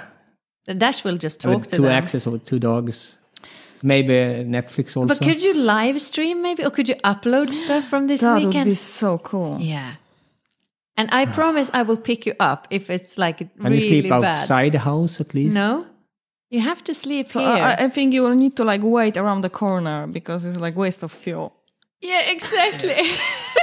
Speaker 1: The Dash will just talk
Speaker 2: With
Speaker 1: to
Speaker 2: two
Speaker 1: them.
Speaker 2: axes or two dogs. Maybe Netflix also.
Speaker 1: But could you live stream maybe, or could you upload stuff from this
Speaker 3: That would
Speaker 1: weekend?
Speaker 3: be so cool.
Speaker 1: Yeah. And I promise I will pick you up if it's like
Speaker 2: Can
Speaker 1: really
Speaker 2: Ah. you sleep
Speaker 1: bad.
Speaker 2: outside the house at least?
Speaker 1: No, you have to sleep
Speaker 3: So uh,
Speaker 1: here.
Speaker 3: I, I think you will need to like wait around the corner because it's like waste of fuel.
Speaker 1: yeah, exactly.
Speaker 2: <laughs>
Speaker 3: <laughs>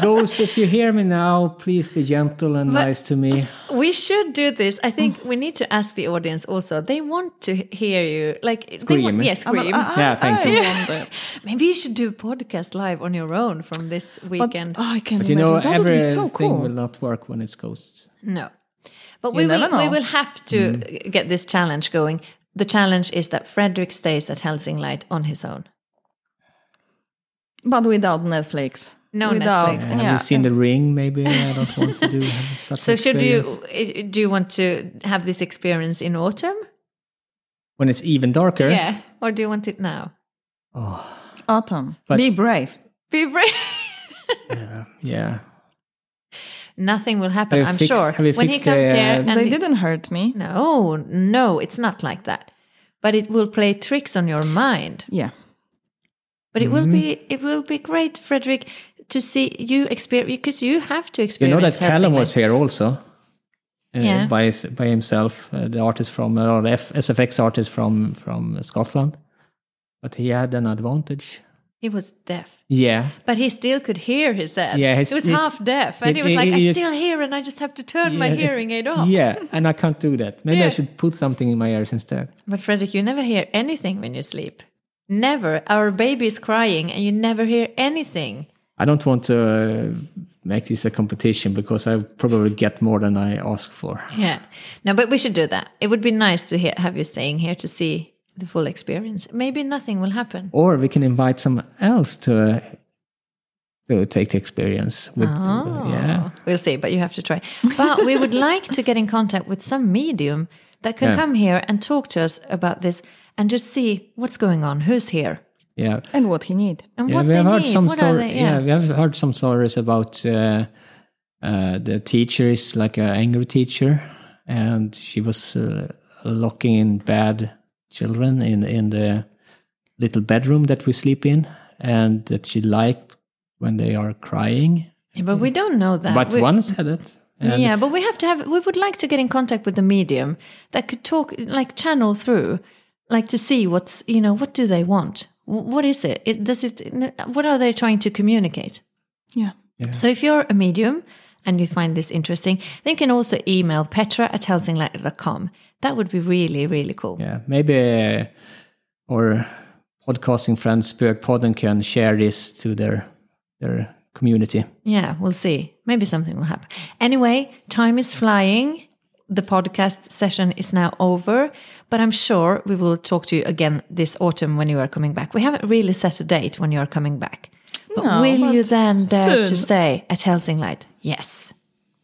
Speaker 2: Those, if you hear me now, please be gentle and nice to me.
Speaker 1: we should do this. I
Speaker 2: Oh.
Speaker 1: think we need to ask the audience also. They want to hear you, like they
Speaker 2: Scream.
Speaker 1: want, yeah,
Speaker 3: I'm like,
Speaker 1: scream.
Speaker 3: I- I-
Speaker 2: Yeah, thank
Speaker 3: I
Speaker 2: you. <laughs>
Speaker 3: wonder.
Speaker 1: <laughs> Maybe you should do a podcast live on your own from this
Speaker 3: But,
Speaker 1: weekend.
Speaker 3: oh, I can
Speaker 2: But you
Speaker 3: imagine.
Speaker 2: know,
Speaker 3: that would be
Speaker 2: everything
Speaker 3: so cool.
Speaker 2: will not work when it's ghosts.
Speaker 1: No. But we
Speaker 3: never
Speaker 1: will, we
Speaker 3: know.
Speaker 1: will have to
Speaker 2: Mm.
Speaker 1: uh, get this challenge going. The challenge is that Frederick stays at Helsing Light on his own.
Speaker 3: But without Netflix.
Speaker 1: No
Speaker 3: without,
Speaker 1: Netflix.
Speaker 2: Have you seen The Ring? Maybe I don't want to do <laughs> have such
Speaker 1: So should you
Speaker 2: experience.
Speaker 1: uh, do you want to have this experience in autumn?
Speaker 2: When it's even darker.
Speaker 1: Yeah. Or do you want it now?
Speaker 3: Autumn.
Speaker 2: But-
Speaker 3: be brave.
Speaker 1: Be brave. <laughs>
Speaker 2: Yeah.
Speaker 1: Nothing will happen,
Speaker 2: Have you
Speaker 1: I'm
Speaker 2: fixed-
Speaker 1: sure.
Speaker 2: have you
Speaker 1: When he
Speaker 2: fixed
Speaker 1: comes
Speaker 2: the,
Speaker 1: here
Speaker 2: uh,
Speaker 1: and
Speaker 3: they
Speaker 1: he-
Speaker 3: didn't hurt me.
Speaker 1: No, no, it's not like that. But it will play tricks on your mind.
Speaker 3: Yeah.
Speaker 1: But it will be
Speaker 2: Mm-hmm.
Speaker 1: it will be great, Frederick, to see you experience because you have to
Speaker 2: You
Speaker 1: experience.
Speaker 2: know that Callum
Speaker 1: Helsingland.
Speaker 2: was here also. Uh,
Speaker 1: Yeah.
Speaker 2: By his, by himself, uh, the artist from uh, or the F- SFX artist from from Scotland, but he had an advantage.
Speaker 1: He was deaf.
Speaker 2: Yeah,
Speaker 1: But he still could hear his head.
Speaker 2: Yeah, his-
Speaker 1: he was
Speaker 2: it-
Speaker 1: half deaf, and
Speaker 2: it-
Speaker 1: he was
Speaker 2: it-
Speaker 1: like,
Speaker 2: it
Speaker 1: "I
Speaker 2: is-
Speaker 1: still hear, and I just have to turn my
Speaker 2: Yeah.
Speaker 1: hearing aid
Speaker 2: <laughs>
Speaker 1: off."
Speaker 2: yeah, and I can't do that. Maybe
Speaker 1: Yeah.
Speaker 2: I should put something in my ears instead.
Speaker 1: But Frederick, you never hear anything when you sleep. Never. Our baby is crying and you never hear anything.
Speaker 2: I don't want to uh, make this a competition because I probably get more than I ask for.
Speaker 1: Yeah. No, but we should do that. It would be nice to hear, have you staying here to see the full experience. Maybe nothing will happen.
Speaker 2: Or we can invite someone else to uh, to take the experience. With,
Speaker 1: Oh.
Speaker 2: uh, yeah,
Speaker 1: We'll see, but you have to try. But
Speaker 2: <laughs>
Speaker 1: we would like to get in contact with some medium that can
Speaker 2: Yeah.
Speaker 1: come here and talk to us about this and just see what's going on, who's here,
Speaker 2: yeah.
Speaker 3: And what he need.
Speaker 1: and
Speaker 2: Yeah,
Speaker 1: what
Speaker 2: we
Speaker 1: they
Speaker 2: have heard
Speaker 1: need.
Speaker 2: some
Speaker 1: what are
Speaker 2: stories.
Speaker 1: they?
Speaker 2: yeah. we have heard some stories about uh, uh, the teacher is like an angry teacher, and she was uh, locking in bad children in in the little bedroom that we sleep in, and that she liked when they are crying.
Speaker 1: Yeah, But we don't know that.
Speaker 2: But
Speaker 1: Uh, We-
Speaker 2: one said it. And
Speaker 1: yeah, but we have to have. We would like to get in contact with the medium that could talk, like channel through, like to see what's you know what do they want. Wh- What is it? it does it? What are they trying to communicate?
Speaker 3: Yeah.
Speaker 1: So if you're a medium and you find this interesting, then you can also email Petra at helsinglight.com. That would be really really cool.
Speaker 2: Yeah, maybe uh, our podcasting friends Spökpodden can share this to their their community.
Speaker 1: Yeah, we'll see. Maybe something will happen. Anyway, time is flying. The podcast session is now over, but I'm sure we will talk to you again this autumn when you are coming back. We haven't really set a date when you are coming back. But
Speaker 3: No,
Speaker 1: will
Speaker 3: but
Speaker 1: you then dare to
Speaker 3: soon.
Speaker 1: stay at Helsing Light? Yes.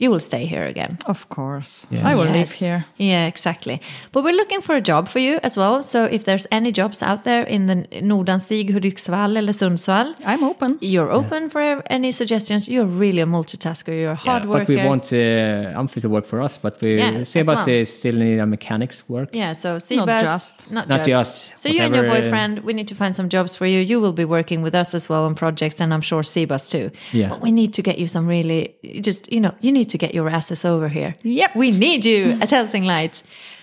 Speaker 1: you will stay here again.
Speaker 3: Of course. I will live
Speaker 1: Yes.
Speaker 3: here.
Speaker 1: Yeah, exactly. But we're looking for a job for you as well. So if there's any jobs out there in the Nordanstig, Hudiksvall eller Sundsvall,
Speaker 3: I'm open.
Speaker 1: you're open for any suggestions. You're really a multitasker. You're a hard worker.
Speaker 2: But we want uh, Amphi to work for us, but we,
Speaker 1: Yeah, as
Speaker 2: Sebas
Speaker 1: well.
Speaker 2: is still need a mechanics work.
Speaker 1: Yeah, so Seabus,
Speaker 3: just.
Speaker 1: not,
Speaker 2: Not
Speaker 1: just.
Speaker 2: just,
Speaker 1: So you and your
Speaker 2: whatever, uh,
Speaker 1: boyfriend, we need to find some jobs for you. You will be working with us as well on projects, and I'm sure Seabus too.
Speaker 2: Yeah.
Speaker 1: But we need to get you some really, you just you know, you need to get your asses over here.
Speaker 3: Yep.
Speaker 1: we need you at Helsing Light.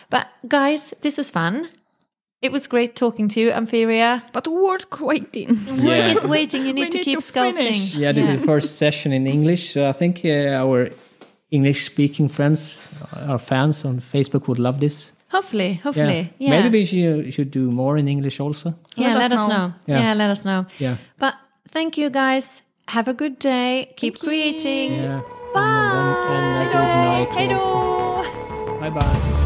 Speaker 1: But guys, this was fun. It was great talking to you, Amphiria.
Speaker 3: But work
Speaker 1: <laughs>
Speaker 3: waiting.
Speaker 2: Yeah.
Speaker 1: Work is waiting. You need to
Speaker 3: need
Speaker 1: keep
Speaker 3: to
Speaker 1: sculpting.
Speaker 3: finish.
Speaker 2: Yeah, this is the first session in English. So I think uh, our English-speaking friends, uh, our fans on Facebook, would love this.
Speaker 1: Hopefully, hopefully, yeah.
Speaker 2: Maybe we should, should do more in English also.
Speaker 1: yeah, let, us know. Yeah.
Speaker 2: Yeah.
Speaker 1: let us know.
Speaker 2: Yeah.
Speaker 1: But thank you, guys. Have a good day. Keep creating.
Speaker 2: Yeah.
Speaker 1: Bye.
Speaker 2: And, and, and a good night.
Speaker 1: Hej
Speaker 2: also.
Speaker 1: då!
Speaker 2: Bye bye.